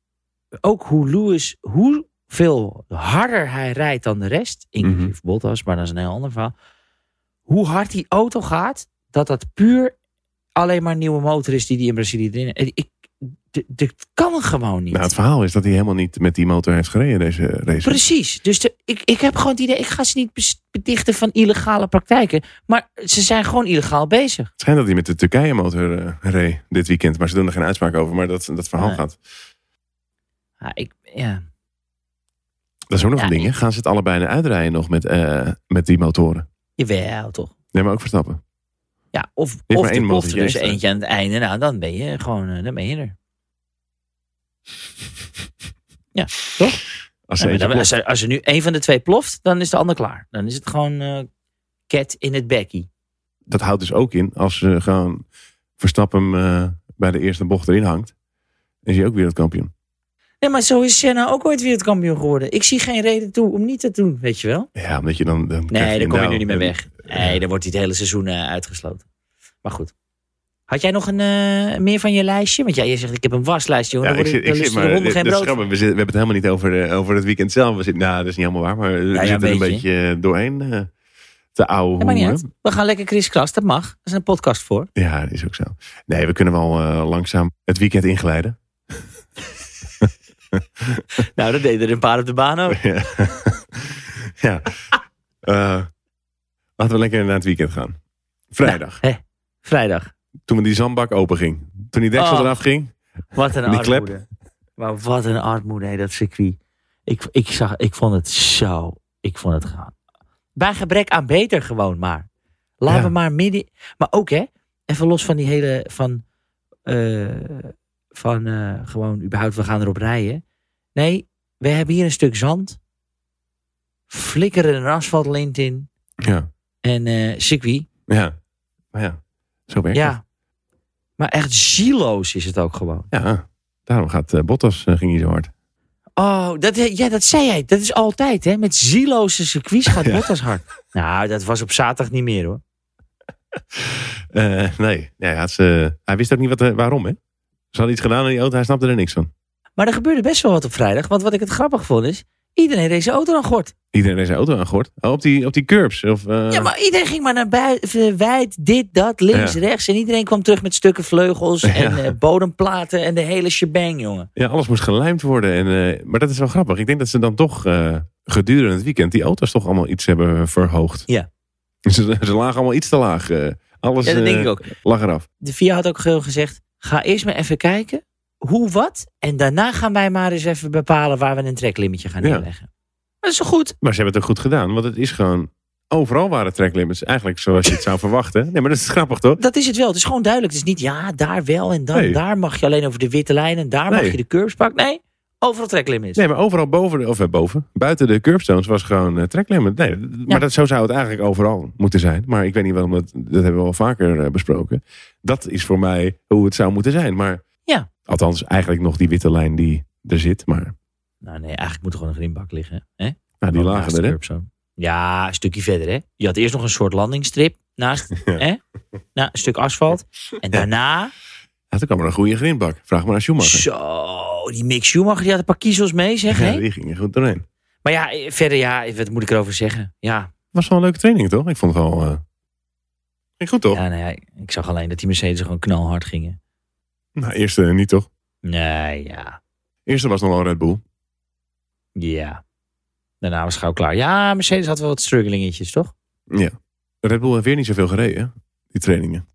Speaker 2: ook hoe Lewis, hoeveel harder hij rijdt dan de rest, inclusief
Speaker 1: Mhm.
Speaker 2: Bottas, maar dat is een heel ander verhaal. Hoe hard die auto gaat, dat dat puur alleen maar een nieuwe motor is die die in Brazilië erin. Ik, d- dat kan gewoon niet.
Speaker 1: Nou, het verhaal is dat hij helemaal niet met die motor heeft gereden deze race.
Speaker 2: Precies. Dus de- ik, ik heb gewoon het idee, ik ga ze niet bes- betichten van illegale praktijken. Maar ze zijn gewoon illegaal bezig.
Speaker 1: Het schijnt dat hij met de Turkije-motor eh, reed dit weekend. Maar ze doen er geen uitspraak over. Maar dat, dat verhaal
Speaker 2: Nee.
Speaker 1: gaat.
Speaker 2: Ja, ik, ja.
Speaker 1: Dat is ook nog
Speaker 2: Ja,
Speaker 1: een ding. hè? Gaan ze het allebei naar uitrijden nog met, eh, met die motoren?
Speaker 2: Jawel, toch?
Speaker 1: Nee, maar ook verstappen.
Speaker 2: Ja, of,
Speaker 1: maar
Speaker 2: of
Speaker 1: één
Speaker 2: er
Speaker 1: motor
Speaker 2: ploft er dus
Speaker 1: extra.
Speaker 2: eentje aan het einde. Nou, dan ben je gewoon, eh, dan ben je er.
Speaker 1: Als
Speaker 2: [laughs] Ja,
Speaker 1: ze
Speaker 2: maar
Speaker 1: eentje
Speaker 2: dan- als,
Speaker 1: ploft.
Speaker 2: er, als er nu één van de twee ploft, dan is de ander klaar. Dan is het gewoon eh cat in het bekkie.
Speaker 1: Dat houdt dus ook in als ze gewoon verstappen eh, bij de eerste bocht erin hangt. Dan is hij ook wereldkampioen.
Speaker 2: Nee, maar zo is Senna ook ooit wereldkampioen geworden. Ik zie geen reden toe om niet te doen, weet je wel?
Speaker 1: Ja, omdat je nou- dan. dan krijg
Speaker 2: Nee, daar
Speaker 1: een
Speaker 2: kom je
Speaker 1: douw.
Speaker 2: nu niet meer weg.
Speaker 1: Ja.
Speaker 2: Nee, dan wordt hij het hele seizoen eh, uitgesloten. Maar goed. Had jij nog een, eh, meer van je lijstje? Want jij jij zegt, ik heb een waslijstje. Hoor.
Speaker 1: Ja,
Speaker 2: Ja,
Speaker 1: ik zit, ik zit maar.
Speaker 2: honden
Speaker 1: dit-
Speaker 2: geen
Speaker 1: dit is
Speaker 2: brood.
Speaker 1: grappig. We, zitten- we hebben het helemaal niet over, eh, over het weekend zelf. We zitten, nou, dat is niet helemaal waar. Maar we
Speaker 2: ja,
Speaker 1: zitten er een
Speaker 2: beetje.
Speaker 1: beetje eh, doorheen eh, te ouwe
Speaker 2: Dat maakt niet
Speaker 1: hoeren.
Speaker 2: uit. We gaan lekker kriskras, dat mag. Er is een podcast voor.
Speaker 1: Ja, dat is ook zo. Nee, we kunnen wel eh, langzaam het weekend ingeleiden. [laughs]
Speaker 2: Nou, dat deden er een paar op de baan ook.
Speaker 1: ja. Eh, laten we lekker naar het weekend gaan. Vrijdag,
Speaker 2: Vrijdag.
Speaker 1: toen we die zandbak open ging. Toen die deksel
Speaker 2: Oh.
Speaker 1: eraf ging.
Speaker 2: Wat een
Speaker 1: Die klep.
Speaker 2: armoede. Maar wat een armoede, hè, dat circuit. Ik, ik, zag, ik vond het zo... Ik vond het gewoon... Bij gebrek aan beter gewoon maar. Laten
Speaker 1: Ja.
Speaker 2: we maar midden... Maar ook hè, even los van die hele... Van, eh, van eh, gewoon überhaupt, we gaan erop rijden. Nee, we hebben hier een stuk zand. Flikkeren een asfaltlint in.
Speaker 1: Ja,
Speaker 2: En eh circuit.
Speaker 1: ja. Maar ja, zo werkt het.
Speaker 2: Ja. Maar echt zieloos is het ook gewoon.
Speaker 1: Ja, daarom gaat eh, Bottas eh, ging hier zo hard.
Speaker 2: Oh, dat, ja, dat zei jij. Dat is altijd, hè? Met zieloze circuits gaat
Speaker 1: [laughs] Ja.
Speaker 2: Bottas hard. Nou, dat was op zaterdag niet meer, hoor.
Speaker 1: Eh, nee, nee hij, had ze- hij wist ook niet wat, eh, waarom. Hè? Ze hadden iets gedaan aan die auto, hij snapte er niks van.
Speaker 2: Maar er gebeurde best wel wat op vrijdag. Want wat ik het grappig vond is... Iedereen reed zijn auto aan gort.
Speaker 1: Iedereen heeft zijn auto aangort. Oh, op die, op die curbs. Of, eh,
Speaker 2: Ja, maar iedereen ging maar naar buiten. Wijd, dit, dat, links,
Speaker 1: Ja.
Speaker 2: rechts. En iedereen kwam terug met stukken vleugels en
Speaker 1: Ja.
Speaker 2: eh, bodemplaten en de hele shebang, jongen.
Speaker 1: Ja, alles moest gelijmd worden. En, eh, maar dat is wel grappig. Ik denk dat ze dan toch eh, gedurende het weekend die auto's toch allemaal iets hebben verhoogd.
Speaker 2: Ja.
Speaker 1: [laughs] Ze, ze lagen allemaal iets te laag. eh. alles
Speaker 2: Ja, dat denk
Speaker 1: eh,
Speaker 2: ik ook.
Speaker 1: lag eraf.
Speaker 2: De VIA had ook gewoon gezegd, ga eerst maar even kijken hoe wat. En daarna gaan wij maar eens even bepalen waar we een treklimmetje gaan
Speaker 1: Ja.
Speaker 2: neerleggen. Dat is toch goed?
Speaker 1: Maar ze hebben het ook goed gedaan. Want het is gewoon... Overal waren tracklimits. Eigenlijk zoals je het zou [laughs] verwachten. Nee, maar dat is grappig toch?
Speaker 2: Dat is het wel. Het is gewoon duidelijk. Het is niet ja, daar wel en dan.
Speaker 1: Nee.
Speaker 2: Daar mag je alleen over de witte lijn en daar
Speaker 1: Nee.
Speaker 2: mag je de curbs pakken. Nee, overal treklimits.
Speaker 1: Nee, maar overal boven, de- of eh, boven, buiten de curbstones was gewoon eh tracklimit. Nee, d- maar dat, zo zou het eigenlijk overal moeten zijn. Maar ik weet niet waarom, dat, dat hebben we al vaker eh, besproken. Dat is voor mij hoe het zou moeten zijn. Maar
Speaker 2: Ja.
Speaker 1: althans, eigenlijk nog die witte lijn die er zit. Maar
Speaker 2: Nou nee, eigenlijk moet er gewoon een grindbak liggen. Hè?
Speaker 1: nou, die
Speaker 2: Gewoon
Speaker 1: lagen
Speaker 2: naast de
Speaker 1: er, hè?
Speaker 2: curbstone. Ja, een stukje verder hè. Je had eerst nog een soort landingstrip naast
Speaker 1: [laughs] Ja.
Speaker 2: hè? Nou, een stuk asfalt. En daarna,
Speaker 1: Ja, toen kwam er een goede grindbak. Vraag maar aan Schumacher.
Speaker 2: zo, die Mick Schumacher die had een paar kiezels mee zeg.
Speaker 1: Ja,
Speaker 2: hè?
Speaker 1: die ging er goed doorheen.
Speaker 2: Maar ja, eh, verder ja, wat moet ik erover zeggen? Ja,
Speaker 1: Was wel een leuke training, toch? Ik vond het wel... eh, Ging goed, toch?
Speaker 2: ja, nou ja ik zag alleen dat die Mercedes gewoon knalhard gingen.
Speaker 1: Nou, eerste niet, toch?
Speaker 2: Nee, ja,
Speaker 1: Eerste was nog wel een Red Bull.
Speaker 2: ja. Daarna was het gauw klaar. Ja, Mercedes had wel wat struggelingetjes, toch?
Speaker 1: Red Bull heeft weer niet zoveel gereden, hè? die trainingen.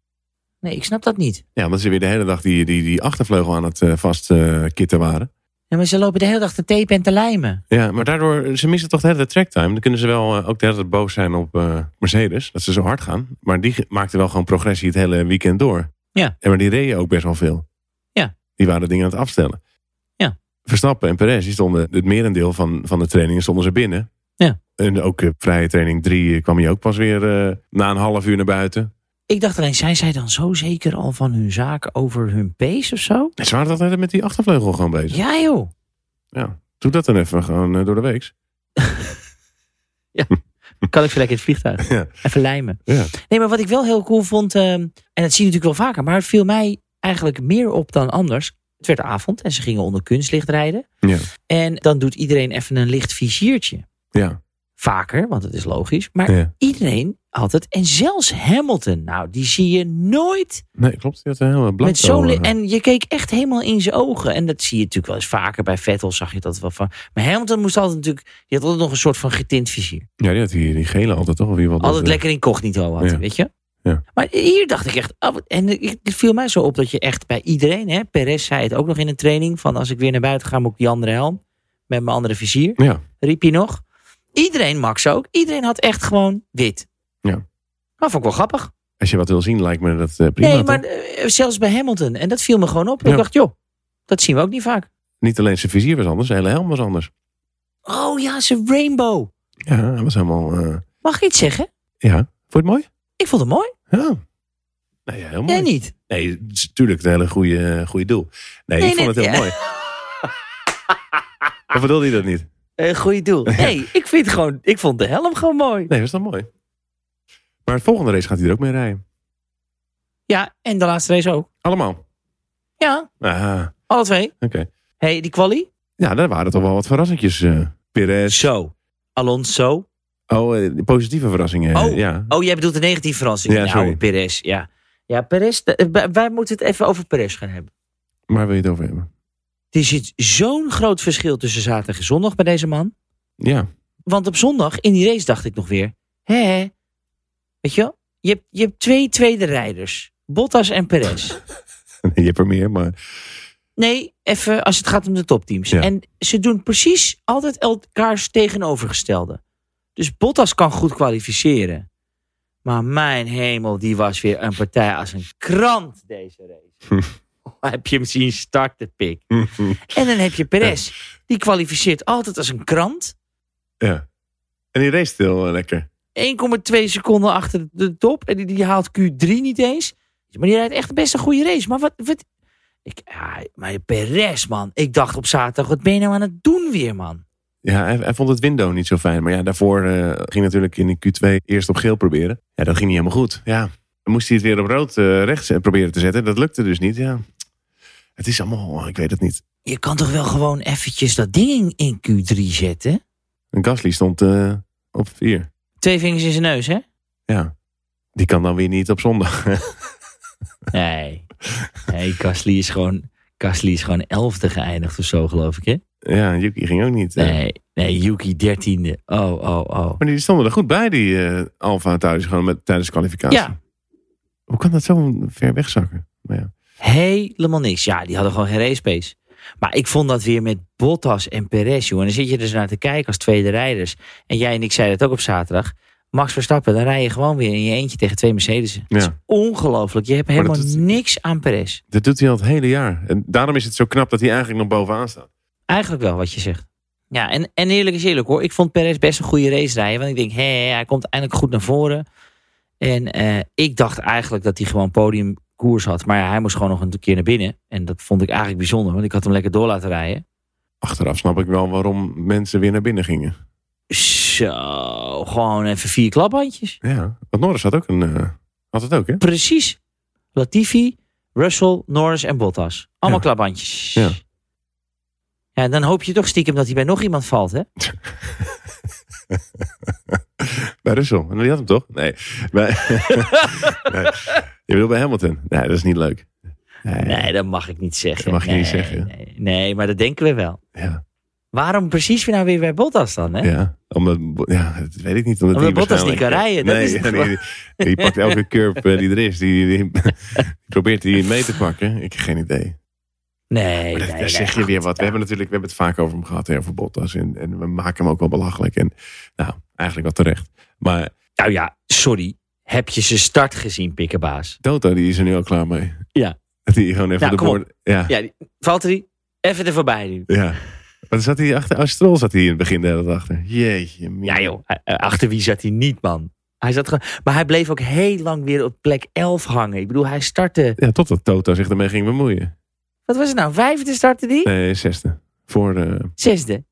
Speaker 2: Nee, ik snap dat niet.
Speaker 1: Ja, omdat ze weer de hele dag die, die, die achtervleugel aan het eh, vastkitten waren.
Speaker 2: Ja, maar ze lopen de hele dag te tapen en te lijmen.
Speaker 1: Ja, maar daardoor, ze missen toch de hele tijd tracktime. Dan kunnen ze wel eh, ook de hele tijd boos zijn op eh, Mercedes, dat ze zo hard gaan. Maar die ge- maakten wel gewoon progressie het hele weekend door.
Speaker 2: Ja.
Speaker 1: En maar die reden ook best wel veel.
Speaker 2: Ja.
Speaker 1: Die waren dingen aan het afstellen.
Speaker 2: Ja.
Speaker 1: Verstappen en Perez, die stonden het merendeel van, van de trainingen stonden ze binnen.
Speaker 2: Ja.
Speaker 1: En ook eh, vrije training 3 kwam je ook pas weer eh, na een half uur naar buiten.
Speaker 2: Ik dacht alleen, zijn zij dan zo zeker al van hun zaken over hun pace of zo?
Speaker 1: En ze waren dat hele tijd met die achtervleugel gewoon bezig.
Speaker 2: Ja joh.
Speaker 1: Doe dat dan even gewoon eh, door de week.
Speaker 2: Kan ik zo lekker in het
Speaker 1: [laughs]
Speaker 2: vliegtuig.
Speaker 1: Ja.
Speaker 2: Even lijmen.
Speaker 1: Ja.
Speaker 2: Nee, maar wat ik wel heel cool vond, ehm, en dat zie je natuurlijk wel vaker, maar het viel mij eigenlijk meer op dan anders. Het werd avond en ze gingen onder kunstlicht rijden.
Speaker 1: Ja.
Speaker 2: En dan doet iedereen even een licht viziertje.
Speaker 1: Ja.
Speaker 2: Vaker, want het is logisch. Maar
Speaker 1: Ja.
Speaker 2: iedereen had het. En zelfs Hamilton, nou, die zie je nooit
Speaker 1: Nee, klopt. Die had een hele eh, blank.
Speaker 2: met zo'n... li- En je keek echt helemaal in zijn ogen. En dat zie je natuurlijk wel eens vaker. Bij Vettel zag je dat wel van. Maar Hamilton moest altijd natuurlijk... Die had altijd nog een soort van getint vizier.
Speaker 1: Ja, die had die, die gele altijd toch? Of wie wat
Speaker 2: altijd lekker in cognito had,
Speaker 1: Ja.
Speaker 2: weet je?
Speaker 1: Ja.
Speaker 2: Maar hier dacht ik echt, oh, wat- en ik- het viel mij zo op dat je echt bij iedereen, hè, Perez zei het ook nog in een training, van als ik weer naar buiten ga, moet ik die andere helm, met mijn andere vizier,
Speaker 1: Ja.
Speaker 2: riep hij nog. Iedereen, Max ook, iedereen had echt gewoon wit.
Speaker 1: Ja.
Speaker 2: Maar vond ik wel grappig.
Speaker 1: Als je wat wil zien, lijkt me dat eh, prima.
Speaker 2: nee, maar
Speaker 1: toch?
Speaker 2: eh, zelfs bij Hamilton, en dat viel me gewoon op.
Speaker 1: Ja.
Speaker 2: Ik dacht, joh, dat zien we ook niet vaak.
Speaker 1: Niet alleen zijn vizier was anders, zijn hele helm was anders.
Speaker 2: Oh ja, ze rainbow.
Speaker 1: Ja, hij was helemaal. eh,
Speaker 2: Mag ik iets zeggen?
Speaker 1: Ja. Vond je het mooi?
Speaker 2: Ik vond het mooi.
Speaker 1: Ja. Nee, ja, heel mooi.
Speaker 2: Jij niet?
Speaker 1: Nee, het is natuurlijk een hele goede, eh, goede doel. Nee,
Speaker 2: Nee,
Speaker 1: ik vond het
Speaker 2: nee,
Speaker 1: heel
Speaker 2: ja. [laughs]
Speaker 1: mooi. Of bedoelde je dat niet?
Speaker 2: Eh goeie doel. [laughs] Nee, ik vind gewoon, ik vond de helm gewoon mooi.
Speaker 1: Nee, was dat mooi. Maar het volgende race gaat hij er ook mee rijden.
Speaker 2: Ja, en de laatste race ook.
Speaker 1: Allemaal.
Speaker 2: Ja,
Speaker 1: Ah, oké.
Speaker 2: alle twee. hey, die quali?
Speaker 1: Ja, daar waren toch wel wat verrassingjes. eh Perez.
Speaker 2: Zo. Alonso.
Speaker 1: Oh, eh, positieve verrassingen. eh,
Speaker 2: Oh.
Speaker 1: Ja.
Speaker 2: Oh, jij bedoelt de negatieve verrassing.
Speaker 1: Ja, sorry.
Speaker 2: nou, Perez. Ja, ja Perez. de- eh, wij- Wij moeten het even over Perez gaan hebben.
Speaker 1: Waar wil je het over hebben?
Speaker 2: Er zit zo'n groot verschil tussen zaterdag en zondag bij deze man.
Speaker 1: Ja.
Speaker 2: Want op zondag in die race dacht ik nog weer. Hè? hè. Weet je wel? Je hebt, je hebt twee tweede rijders. Bottas en Perez.
Speaker 1: [laughs] Je hebt er meer, maar
Speaker 2: Nee, even als het gaat om de topteams.
Speaker 1: Ja.
Speaker 2: En ze doen precies altijd elkaars tegenovergestelde. Dus Bottas kan goed kwalificeren. Maar mijn hemel, die was weer een partij als een krant deze race. [laughs] heb je hem zien starten, pik. En dan heb je Perez. Die kwalificeert altijd als een krant.
Speaker 1: ja. En die race stil eh, lekker.
Speaker 2: 1,2 seconden achter de top. En die, die haalt Q3 niet eens. Maar die rijdt echt best een goede race. Maar wat... wat ik, ja, maar Perez, man. Ik dacht op zaterdag, wat ben je nou aan het doen weer, man?
Speaker 1: Ja, hij, hij vond het window niet zo fijn. Maar ja, daarvoor eh, ging natuurlijk in de Q2 eerst op geel proberen. Ja, dat ging niet helemaal goed. Ja. Dan moest hij het weer op rood eh, rechts eh, proberen te zetten. Dat lukte dus niet, ja. Het is allemaal, oh, ik weet het niet.
Speaker 2: Je kan toch wel gewoon eventjes dat ding in Q3 zetten?
Speaker 1: En Gasly stond eh, op vier.
Speaker 2: Twee vingers in zijn neus, hè?
Speaker 1: Ja. Die kan dan weer niet op zondag. [laughs]
Speaker 2: [laughs] Nee. Nee, Gasly is gewoon... Gasly is gewoon elfde geëindigd of zo, geloof ik, hè?
Speaker 1: Ja, Yuki ging ook niet. eh.
Speaker 2: Nee, nee, Yuki 13e. Oh, oh, oh.
Speaker 1: Maar die stonden er goed bij, die eh, Alfa thuis, gewoon met, tijdens de kwalificatie.
Speaker 2: Ja.
Speaker 1: Hoe kan dat zo ver wegzakken? Maar ja.
Speaker 2: Helemaal niks. Ja, die hadden gewoon geen race pace. Maar ik vond dat weer met Bottas en Perez, joh. En dan zit je dus naar te kijken als tweede rijders. En jij en ik zeiden het ook op zaterdag. Max Verstappen, dan rij je gewoon weer in je eentje tegen twee Mercedesen.
Speaker 1: Ja.
Speaker 2: Dat is ongelooflijk. Je hebt
Speaker 1: Maar dat
Speaker 2: helemaal
Speaker 1: is-
Speaker 2: niks aan Perez.
Speaker 1: Dat doet hij al het hele jaar. En daarom is het zo knap dat hij eigenlijk nog bovenaan staat.
Speaker 2: Eigenlijk wel wat je zegt. Ja, en, en eerlijk is eerlijk hoor. Ik vond Perez best een goede race rijden. Want ik denk, hé, hij komt eindelijk goed naar voren. En eh, ik dacht eigenlijk dat hij gewoon podiumkoers had. Maar ja, hij moest gewoon nog een keer naar binnen. En dat vond ik eigenlijk bijzonder. Want ik had hem lekker door laten rijden.
Speaker 1: Achteraf snap ik wel waarom mensen weer naar binnen gingen.
Speaker 2: Zo, gewoon even vier klapbandjes.
Speaker 1: Ja, want Norris had ook een... eh, had het ook, hè?
Speaker 2: Precies. Latifi, Russell, Norris en Bottas. Allemaal
Speaker 1: Ja.
Speaker 2: klapbandjes.
Speaker 1: Ja.
Speaker 2: Ja, en dan hoop je toch stiekem dat hij bij nog iemand valt, hè?
Speaker 1: Bij Russell. En die had hem toch? Nee. Bij... [laughs] nee. Je bedoelt bij Hamilton. Nee, dat is niet leuk. Nee.
Speaker 2: Nee, dat mag ik niet zeggen.
Speaker 1: Dat mag je
Speaker 2: nee,
Speaker 1: niet zeggen.
Speaker 2: Nee, nee, maar dat denken we wel.
Speaker 1: Ja,
Speaker 2: Waarom precies weer nou weer bij Bottas dan, hè?
Speaker 1: ja. Omdat, ja, dat weet ik niet. Omdat,
Speaker 2: Omdat
Speaker 1: die
Speaker 2: Bottas niet kan
Speaker 1: waarschijnlijk-
Speaker 2: rijden, dat
Speaker 1: nee,
Speaker 2: is het
Speaker 1: ja, nee, die, die pakt elke curb eh, die er is. Die, die, [laughs] die probeert die mee te pakken. Ik heb geen idee.
Speaker 2: Nee,
Speaker 1: Maar
Speaker 2: nee,
Speaker 1: dat- daar
Speaker 2: nee,
Speaker 1: zeg je
Speaker 2: ach,
Speaker 1: weer wat. We hebben natuurlijk we hebben het vaak over hem gehad, hè, over Bottas. En, en we maken hem ook wel belachelijk. En nou, eigenlijk wel terecht. Maar
Speaker 2: Nou ja, sorry. Heb je zijn start gezien, pikkenbaas?
Speaker 1: Toto, die is er nu al klaar mee.
Speaker 2: Ja.
Speaker 1: Dat hij gewoon even
Speaker 2: Ja,
Speaker 1: de
Speaker 2: kom op.
Speaker 1: boord... Ja, ja.
Speaker 2: Ja, die- Valtteri, even er voorbij nu.
Speaker 1: Maar zat hij achter... Astrol zat hij in het begin de hele dag achter. Jeetje. mina.
Speaker 2: Ja joh, eh, eh, achter wie zat hij niet, man? Hij zat gewoon, maar hij bleef ook heel lang weer op plek 11 hangen. Ik bedoel, hij startte...
Speaker 1: Ja, totdat Toto zich ermee ging bemoeien.
Speaker 2: Wat was het nou? Vijfde startte die?
Speaker 1: Nee, zesde. Voor eh, de...
Speaker 2: Zesde.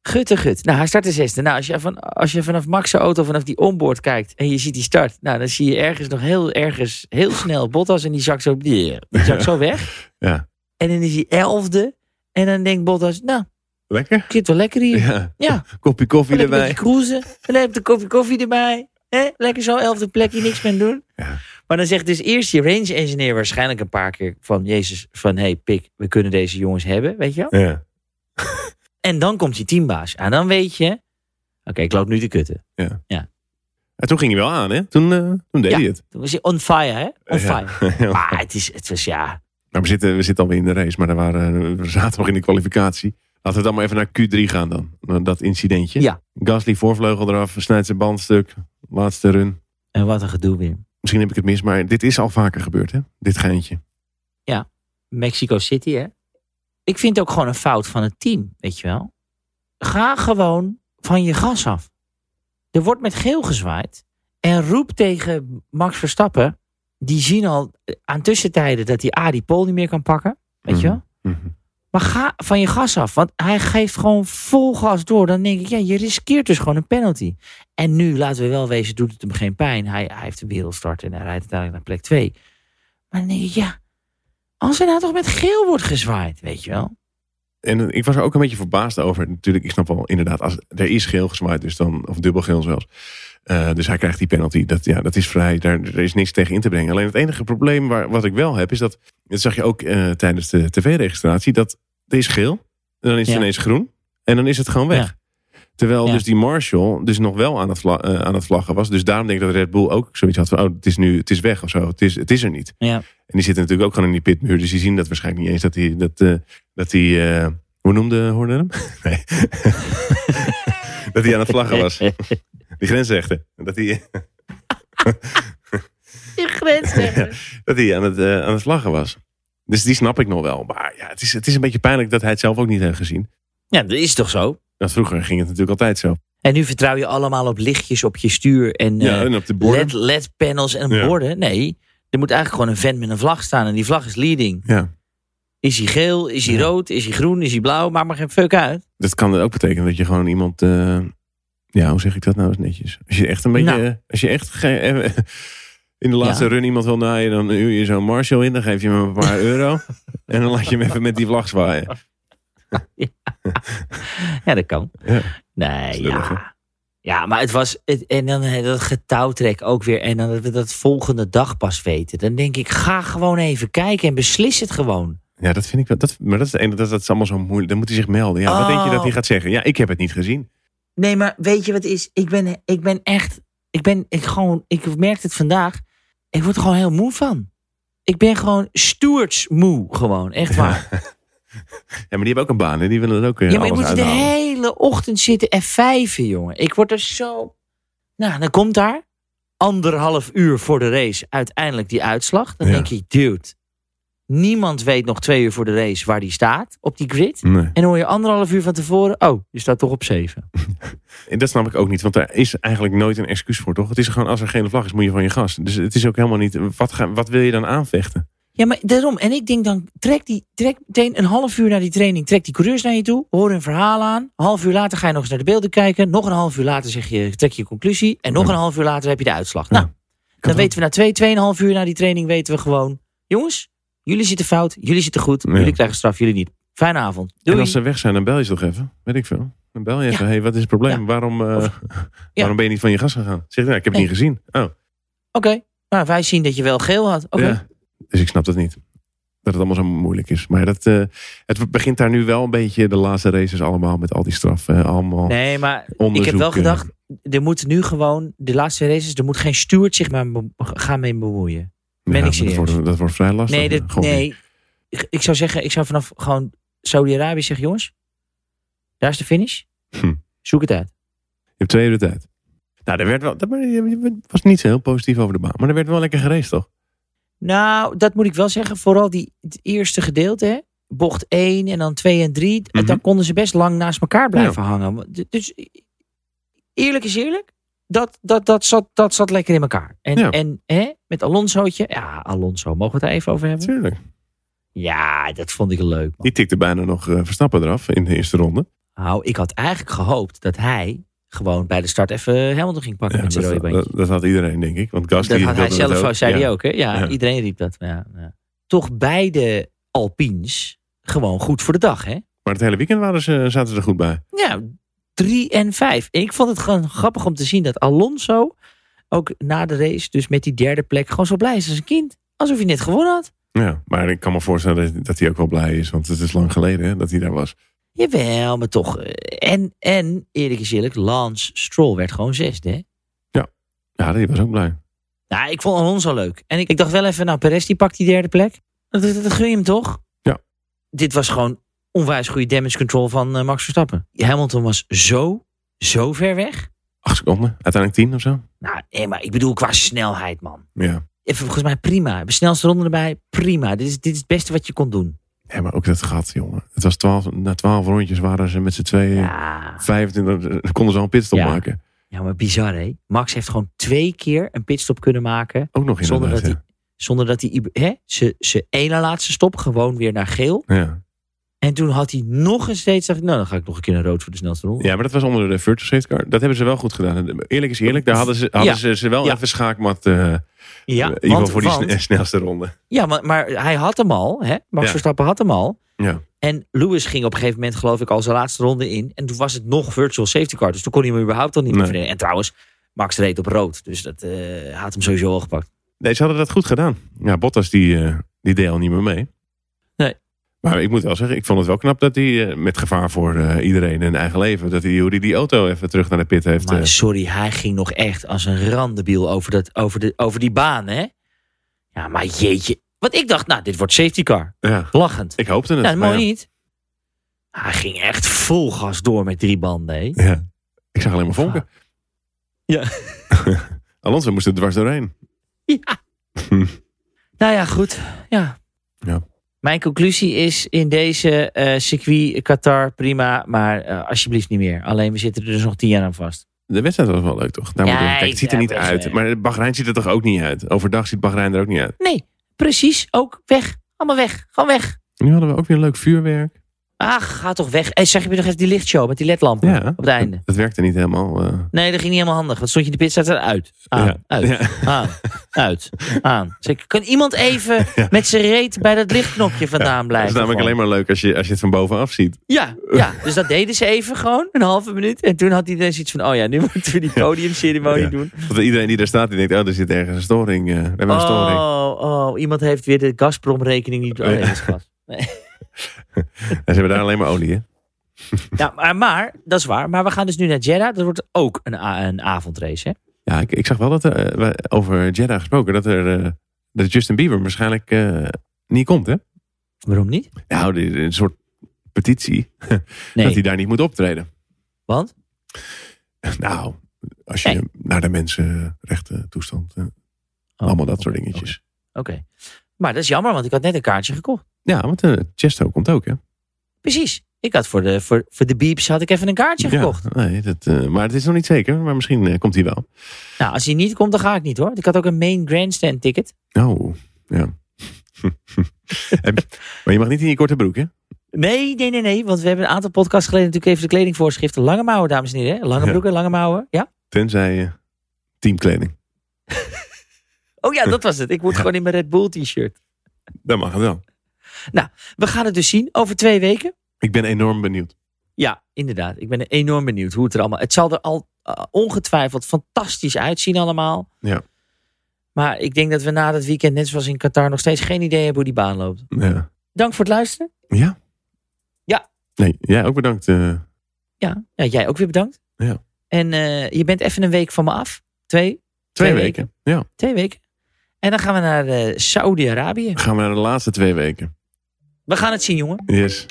Speaker 2: Gutte gut. Nou, hij startte zesde. Nou, als je, van, als je vanaf Max' auto, vanaf die onboard kijkt en je ziet die start. Nou, dan zie je ergens nog heel ergens, heel snel Bottas en die zak zo, die zak zo weg.
Speaker 1: Ja.
Speaker 2: En dan is hij elfde. En dan denkt Bottas, nou,
Speaker 1: Lekker?
Speaker 2: ik zit wel lekker hier.
Speaker 1: Ja.
Speaker 2: Ja.
Speaker 1: Kopje koffie
Speaker 2: Lekker een
Speaker 1: erbij.
Speaker 2: beetje cruisen. En dan heb je een kopje koffie erbij. hè? Lekker zo, elfde plekje, niks meer doen.
Speaker 1: Ja.
Speaker 2: Maar dan zegt dus eerst je range engineer waarschijnlijk een paar keer van... Jezus, van hey, pik, we kunnen deze jongens hebben, weet je wel?
Speaker 1: Ja.
Speaker 2: En dan komt die teambaas. En dan weet je, oké, ik loop nu te kutten.
Speaker 1: En toen ging hij wel aan, hè? Toen, eh, toen deed
Speaker 2: Ja.
Speaker 1: hij het. [laughs]
Speaker 2: Toen was hij on fire, hè? On
Speaker 1: Ja.
Speaker 2: fire. Maar het, is, het was, ja...
Speaker 1: Nou, we zitten, we zitten alweer in de race, maar er waren, we zaten nog in de kwalificatie. Laten we dan maar even naar Q3 gaan dan. Dat incidentje.
Speaker 2: Ja.
Speaker 1: Gasly voorvleugel eraf, snijdt zijn band stuk. Laatste run.
Speaker 2: En wat een gedoe weer.
Speaker 1: Misschien heb ik het mis, maar dit is al vaker gebeurd, hè? Dit geintje.
Speaker 2: Mexico City, hè? Ik vind het ook gewoon een fout van het team, weet je wel? Ga gewoon van je gas af. Er wordt met geel gezwaaid. En roep tegen Max Verstappen. Die zien al eh, aan tussentijden dat hij A, die pol niet meer kan pakken. Weet je wel?
Speaker 1: Mhm.
Speaker 2: Maar ga van je gas af. Want hij geeft gewoon vol gas door. Dan denk ik, ja, je riskeert dus gewoon een penalty. En nu, laten we wel wezen, doet het hem geen pijn. Hij, hij heeft een wereldstart en hij rijdt uiteindelijk naar plek 2. Maar dan denk ik, ja, als hij nou toch met geel wordt gezwaaid, weet je wel.
Speaker 1: En ik was er ook een beetje verbaasd over. Natuurlijk, ik snap wel inderdaad, als er is geel gezwaaid, dus dan, of dubbel geel zelfs. Eh, dus hij krijgt die penalty. Dat, ja, dat is vrij. Daar er is niks tegen in te brengen. Alleen het enige probleem waar, wat ik wel heb, is dat. Dat zag je ook eh, tijdens de tv-registratie. Dat er is geel. En dan is het
Speaker 2: Ja.
Speaker 1: ineens groen. En dan is het gewoon weg. Terwijl
Speaker 2: Ja.
Speaker 1: dus die Marshall dus nog wel aan het, vla- eh, aan het vlaggen was. Dus daarom denk ik dat Red Bull ook zoiets had van... oh, het is nu het is weg of zo. Het is, het is er niet.
Speaker 2: Ja.
Speaker 1: En die zitten natuurlijk ook gewoon in die pitmuur. Dus die zien dat waarschijnlijk niet eens dat die... Dat, eh, dat die eh, hoe noemde Horner hem? [laughs] Nee. dat hij aan het vlaggen was. Die grensrechter. Dat hij
Speaker 2: Je grens
Speaker 1: dat hij aan, het, eh, aan het vlaggen was. Dus die snap ik nog wel. Maar ja, het is, het is een beetje pijnlijk dat hij het zelf ook niet heeft gezien.
Speaker 2: [laughs] Ja, dat is toch zo?
Speaker 1: Nou, vroeger ging het natuurlijk altijd zo.
Speaker 2: En nu vertrouw je allemaal op lichtjes op je stuur en
Speaker 1: ja,
Speaker 2: eh,
Speaker 1: en op de borden.
Speaker 2: LED, LED-panels en
Speaker 1: Ja.
Speaker 2: borden. Nee, er moet eigenlijk gewoon een vent met een vlag staan. En die vlag is leading.
Speaker 1: Ja.
Speaker 2: Is hij geel? Is hij
Speaker 1: Ja.
Speaker 2: rood? Is hij groen? Is hij blauw? Maakt maar geen fuck uit.
Speaker 1: Dat kan ook betekenen dat je gewoon iemand. eh, ja, hoe zeg ik dat nou eens netjes? Als je echt een beetje.
Speaker 2: Nou.
Speaker 1: eh, Als je echt. ge- eh, in de laatste
Speaker 2: Ja.
Speaker 1: run iemand wil naaien, dan huur je zo'n Marshall in. Dan geef je hem een
Speaker 2: [laughs]
Speaker 1: paar euro. En dan laat je hem even met die vlag zwaaien.
Speaker 2: Ja, dat kan.
Speaker 1: Ja.
Speaker 2: Nee,
Speaker 1: Slullig,
Speaker 2: ja. Ja, maar het was... Het, en dan eh, dat getouwtrek ook weer. En dan dat we dat volgende dag pas weten. Dan denk ik, ga gewoon even kijken en beslis het gewoon.
Speaker 1: Ja, dat vind ik wel. Dat, maar dat is het ene, dat, dat is allemaal zo moeilijk. Dan moet hij zich melden. Ja, wat denk je dat hij
Speaker 2: Oh.
Speaker 1: gaat zeggen? Ja, ik heb het niet gezien.
Speaker 2: Nee, maar weet je wat het is? Ik ben, ik ben echt. Ik ben ik gewoon. Ik merk het vandaag. Ik word er gewoon heel moe van. Ik ben gewoon stoerts moe. Gewoon, echt waar.
Speaker 1: Ja, maar die hebben ook een baan en die willen er ook eh,
Speaker 2: Ja, maar ik
Speaker 1: alles
Speaker 2: moet hier de
Speaker 1: uithalen.
Speaker 2: hele ochtend zitten en vijven, jongen. Ik word er zo. Nou, dan komt daar anderhalf uur voor de race uiteindelijk die uitslag. Dan
Speaker 1: Ja.
Speaker 2: denk ik, dude. Niemand weet nog twee uur voor de race waar die staat op die grid.
Speaker 1: Nee.
Speaker 2: En dan hoor je anderhalf uur van tevoren. Oh, je staat toch op zeven.
Speaker 1: En dat snap ik ook niet, want daar is eigenlijk nooit een excuus voor, toch? Het is gewoon als er geen vlag is, moet je van je gas. Dus het is ook helemaal niet. Wat, ga, wat wil je dan aanvechten?
Speaker 2: Ja, maar daarom. En ik denk dan, trek, die, trek meteen een half uur naar die training. Trek die coureurs naar je toe. Hoor een verhaal aan. Een half uur later ga je nog eens naar de beelden kijken. Nog een half uur later zeg je, trek je conclusie. En nog
Speaker 1: Ja.
Speaker 2: een half uur later heb je de uitslag.
Speaker 1: Ja.
Speaker 2: Nou, dan
Speaker 1: ook.
Speaker 2: weten we na twee, tweeënhalf uur na die training weten we gewoon... Jongens, jullie zitten fout. Jullie zitten goed.
Speaker 1: Ja.
Speaker 2: Jullie krijgen straf, jullie niet. Fijne avond.
Speaker 1: En
Speaker 2: Doei.
Speaker 1: als ze weg zijn, dan bel je ze toch even? Weet ik veel. Dan bel je even. hey, wat is het probleem?
Speaker 2: Ja.
Speaker 1: Waarom, eh,
Speaker 2: Of-
Speaker 1: waarom ben je niet van je gas gegaan? Zeg, nou, ik heb het
Speaker 2: Nee.
Speaker 1: niet gezien. Oh,
Speaker 2: Oké, nou wij zien dat je wel geel had. Oké.
Speaker 1: ja. Dus ik snap dat niet. Dat het allemaal zo moeilijk is. Maar dat, eh, het begint daar nu wel een beetje de laatste races allemaal met al die straf. eh, allemaal
Speaker 2: Nee, maar ik
Speaker 1: onderzoek,
Speaker 2: heb wel
Speaker 1: eh,
Speaker 2: gedacht, er moet nu gewoon, de laatste races, er moet geen steward zich maar be- gaan mee bemoeien.
Speaker 1: ja,
Speaker 2: ben ik
Speaker 1: dat
Speaker 2: serieus.
Speaker 1: wordt- Dat wordt vrij lastig.
Speaker 2: Nee, dat,
Speaker 1: Gewoon
Speaker 2: nee. Ik, ik zou zeggen, ik zou vanaf gewoon Saudi-Arabië zeggen, jongens, daar is de finish.
Speaker 1: Hm.
Speaker 2: Zoek het uit.
Speaker 1: Je hebt twee uur de tijd. Nou, er werd wel, dat was niet zo heel positief over de baan. Maar er werd wel lekker geraced, toch?
Speaker 2: Nou, dat moet ik wel zeggen, vooral die, het eerste gedeelte, hè? bocht 1 en dan 2 en 3,
Speaker 1: Mhm.
Speaker 2: daar konden ze best lang naast elkaar blijven hangen. Dus eerlijk is eerlijk, dat, dat, dat, zat, dat zat lekker in elkaar. En,
Speaker 1: Ja.
Speaker 2: en hè, met Alonsootje, ja, Alonso, mogen we het daar even over hebben?
Speaker 1: Tuurlijk.
Speaker 2: Ja, dat vond ik leuk. Man.
Speaker 1: Die tikte bijna nog eh, Verstappen eraf in de eerste ronde.
Speaker 2: Nou, ik had eigenlijk gehoopt dat hij gewoon bij de start even Hamilton ging pakken
Speaker 1: Ja,
Speaker 2: met zijn rode
Speaker 1: dat,
Speaker 2: bandje.
Speaker 1: dat, dat had iedereen, denk ik. Want Gasly
Speaker 2: Dat had hij
Speaker 1: wilde dat
Speaker 2: zelf
Speaker 1: ook.
Speaker 2: ook, zei
Speaker 1: Ja.
Speaker 2: hij ook. Hè? Ja,
Speaker 1: Ja.
Speaker 2: iedereen riep dat. Ja, ja. Toch beide Alpines gewoon goed voor de dag, hè?
Speaker 1: Maar het hele weekend waren ze, zaten ze er goed bij.
Speaker 2: Ja, drie en vijf. En ik vond het gewoon grappig om te zien dat Alonso ook na de race, dus met die derde plek, gewoon zo blij is als een kind. Alsof hij net gewonnen had.
Speaker 1: Ja, maar ik kan me voorstellen dat, dat hij ook wel blij is. Want het is lang geleden hè, dat hij daar was.
Speaker 2: Jawel, maar toch. eh, En, en eerlijk is eerlijk, Lance Stroll werd gewoon zesde, hè?
Speaker 1: Ja, die was ook blij.
Speaker 2: Nou, ik vond Alonso leuk. En ik, ik dacht wel even, nou, Perez die pakt die derde plek. Dat, dat, dat gun je hem toch?
Speaker 1: Ja.
Speaker 2: Dit was gewoon onwijs goede damage control van eh, Max Verstappen. Hamilton was zo, zo ver weg.
Speaker 1: Acht seconden, uiteindelijk tien of zo.
Speaker 2: Nou, nee, maar ik bedoel qua snelheid, man.
Speaker 1: Ja.
Speaker 2: Even, volgens mij prima. De snelste ronde erbij, prima. Dit is, dit is het beste wat je kon doen.
Speaker 1: ja, maar ook dat gat, jongen. Het was twaalf, na twaalf rondjes waren ze met z'n tweeën.
Speaker 2: Ja.
Speaker 1: 25, konden ze al een pitstop
Speaker 2: Ja.
Speaker 1: maken.
Speaker 2: ja, maar bizar, hè? Max heeft gewoon twee keer een pitstop kunnen maken.
Speaker 1: Ook nog
Speaker 2: Zonder
Speaker 1: inderdaad.
Speaker 2: dat,
Speaker 1: ja.
Speaker 2: hij, zonder dat hij... Hè, ze, ze ene laatste stop gewoon weer naar geel.
Speaker 1: Ja.
Speaker 2: En toen had hij nog eens steeds gezegd, nou dan ga ik nog een keer naar rood voor de snelste ronde.
Speaker 1: ja, maar dat was onder de virtual safety car. Dat hebben ze wel goed gedaan. Eerlijk is eerlijk, daar hadden ze, hadden
Speaker 2: Ja.
Speaker 1: ze, ze wel
Speaker 2: Ja.
Speaker 1: even schaakmat. eh in ieder geval
Speaker 2: want,
Speaker 1: voor die
Speaker 2: want-
Speaker 1: sne- snelste ronde.
Speaker 2: ja maar, maar hij had hem al, hè? Max
Speaker 1: Ja.
Speaker 2: Verstappen had hem al.
Speaker 1: Ja.
Speaker 2: En Lewis ging op een gegeven moment geloof ik al zijn laatste ronde in. En toen was het nog virtual safety car, dus toen kon hij hem überhaupt al niet meer
Speaker 1: Nee.
Speaker 2: verdedigen. En trouwens, Max reed op rood, dus dat eh, hij had hem sowieso al gepakt.
Speaker 1: Nee, ze hadden dat goed gedaan. Ja, Bottas die, eh, die deed al niet meer mee.
Speaker 2: Nee.
Speaker 1: Maar ik moet wel zeggen, ik vond het wel knap dat hij eh, met gevaar voor eh, iedereen en eigen leven, dat hij hoe die, die auto even terug naar de pit heeft. eh,
Speaker 2: Maar sorry, hij ging nog echt als een randebiel over, dat, over, de, over die baan, hè? Ja, maar jeetje. Want ik dacht, nou, dit wordt safety car.
Speaker 1: ja,
Speaker 2: Lachend.
Speaker 1: ik hoopte het.
Speaker 2: Nou, dat
Speaker 1: maar
Speaker 2: mooi
Speaker 1: ja.
Speaker 2: niet. Hij ging echt vol gas door met drie banden. Hè? Ah.
Speaker 1: Ja. Ik zag alleen maar vonken.
Speaker 2: Ja.
Speaker 1: Alonso moest er dwars doorheen.
Speaker 2: Ja. nou ja, goed. Ja.
Speaker 1: Ja.
Speaker 2: Mijn conclusie is in deze eh, circuit Qatar prima, maar eh, alsjeblieft niet meer. Alleen we zitten er dus nog tien jaar aan vast.
Speaker 1: De wedstrijd was wel leuk, toch? Daar
Speaker 2: Ja,
Speaker 1: moet ik- Kijk,
Speaker 2: ik-
Speaker 1: het ziet er
Speaker 2: ja, eh,
Speaker 1: niet
Speaker 2: best,
Speaker 1: uit.
Speaker 2: ja.
Speaker 1: Maar Bahrein ziet er toch ook niet uit? Overdag ziet Bahrein er ook niet uit.
Speaker 2: Nee, precies. Ook weg. Allemaal weg. Gewoon weg.
Speaker 1: Nu hadden we ook weer leuk vuurwerk.
Speaker 2: Ach, ga toch weg. En zeg je me nog even die lichtshow met die ledlampen
Speaker 1: Ja.
Speaker 2: op het einde.
Speaker 1: Dat werkte niet helemaal. eh.
Speaker 2: Nee, dat ging niet helemaal handig. Want stond je in de pit, staat er uit. Aan,
Speaker 1: ja. [laughs]
Speaker 2: uit.
Speaker 1: Ja.
Speaker 2: aan, uit, aan. Zeg, ik, kan iemand
Speaker 1: [laughs]
Speaker 2: even met zijn reet bij dat lichtknopje vandaan
Speaker 1: Dat
Speaker 2: blijven?
Speaker 1: is namelijk alleen
Speaker 2: gewoon?
Speaker 1: maar leuk als je, als je het van bovenaf ziet.
Speaker 2: Ja, ja, dus dat deden ze even gewoon, een halve minuut. En toen had hij ineens iets van, oh ja, nu [laughs] moeten we die podiumceremonie
Speaker 1: Ja.
Speaker 2: doen.
Speaker 1: Want iedereen die daar staat, die denkt, oh, er zit ergens een storing. eh, we hebben een storing.
Speaker 2: Oh, oh, iemand heeft weer de Gazprom-rekening niet... Oh, nee, dat is gas. Nee.
Speaker 1: en ze hebben daar alleen maar olie, hè?
Speaker 2: Ja, maar, maar, dat is waar. Maar we gaan dus nu naar Jeddah. Dat wordt ook een, a- een avondrace, hè?
Speaker 1: Ja, ik, ik zag wel dat er, eh, we- over Jeddah gesproken, dat, er, eh, dat Justin Bieber waarschijnlijk eh, niet komt, hè?
Speaker 2: Waarom niet?
Speaker 1: Nou, dit is een soort petitie dat hij
Speaker 2: Nee,
Speaker 1: daar niet moet optreden.
Speaker 2: want?
Speaker 1: [laughs] Nou, als je
Speaker 2: Nee.
Speaker 1: naar de mensenrechten toestand, eh,
Speaker 2: Oh,
Speaker 1: allemaal dat
Speaker 2: oké,
Speaker 1: soort dingetjes.
Speaker 2: Oké. Oké. Maar dat is jammer, want ik had net een kaartje gekocht.
Speaker 1: Ja, want eh Chesto komt ook, hè?
Speaker 2: Precies. Ik had voor de, voor, voor de beeps had ik even een kaartje
Speaker 1: ja,
Speaker 2: gekocht.
Speaker 1: nee, dat, eh, maar het is nog niet zeker, maar misschien eh, komt hij wel.
Speaker 2: Nou, als hij niet komt, dan ga ik niet hoor. Ik had ook een main grandstand ticket.
Speaker 1: Oh, ja. [laughs] En- maar je mag niet in je korte broek, hè?
Speaker 2: Nee, nee, nee, nee. Want we hebben een aantal podcasts geleden natuurlijk even de kledingvoorschriften. Lange mouwen, dames en heren. hè? Lange
Speaker 1: Ja.
Speaker 2: broeken, lange mouwen. Ja?
Speaker 1: Tenzij eh, teamkleding.
Speaker 2: Oh ja, dat was het. Ik moet gewoon in mijn Red Bull t-shirt.
Speaker 1: Dat mag het wel.
Speaker 2: We gaan het dus zien over twee weken.
Speaker 1: Ik ben enorm benieuwd.
Speaker 2: Ja, inderdaad. Ik ben enorm benieuwd hoe het er allemaal... Het zal er al eh, ongetwijfeld fantastisch uitzien allemaal.
Speaker 1: Ja.
Speaker 2: Maar ik denk dat we na dat weekend, net zoals in Qatar, nog steeds geen idee hebben hoe die baan loopt.
Speaker 1: Ja.
Speaker 2: Dank voor het luisteren.
Speaker 1: Ja?
Speaker 2: Ja.
Speaker 1: Nee, jij ook bedankt. eh,
Speaker 2: Ja, ja jij ook weer bedankt.
Speaker 1: Ja.
Speaker 2: En eh, je bent even een week van me af. Twee,
Speaker 1: twee
Speaker 2: Twee
Speaker 1: weken. Ja.
Speaker 2: twee weken. En dan gaan we naar eh, Saudi-Arabië.
Speaker 1: Gaan we naar de laatste twee weken.
Speaker 2: We gaan het zien, jongen.
Speaker 1: Yes.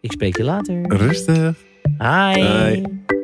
Speaker 2: Ik spreek je later.
Speaker 1: Rustig.
Speaker 2: Hi.
Speaker 1: Hoi.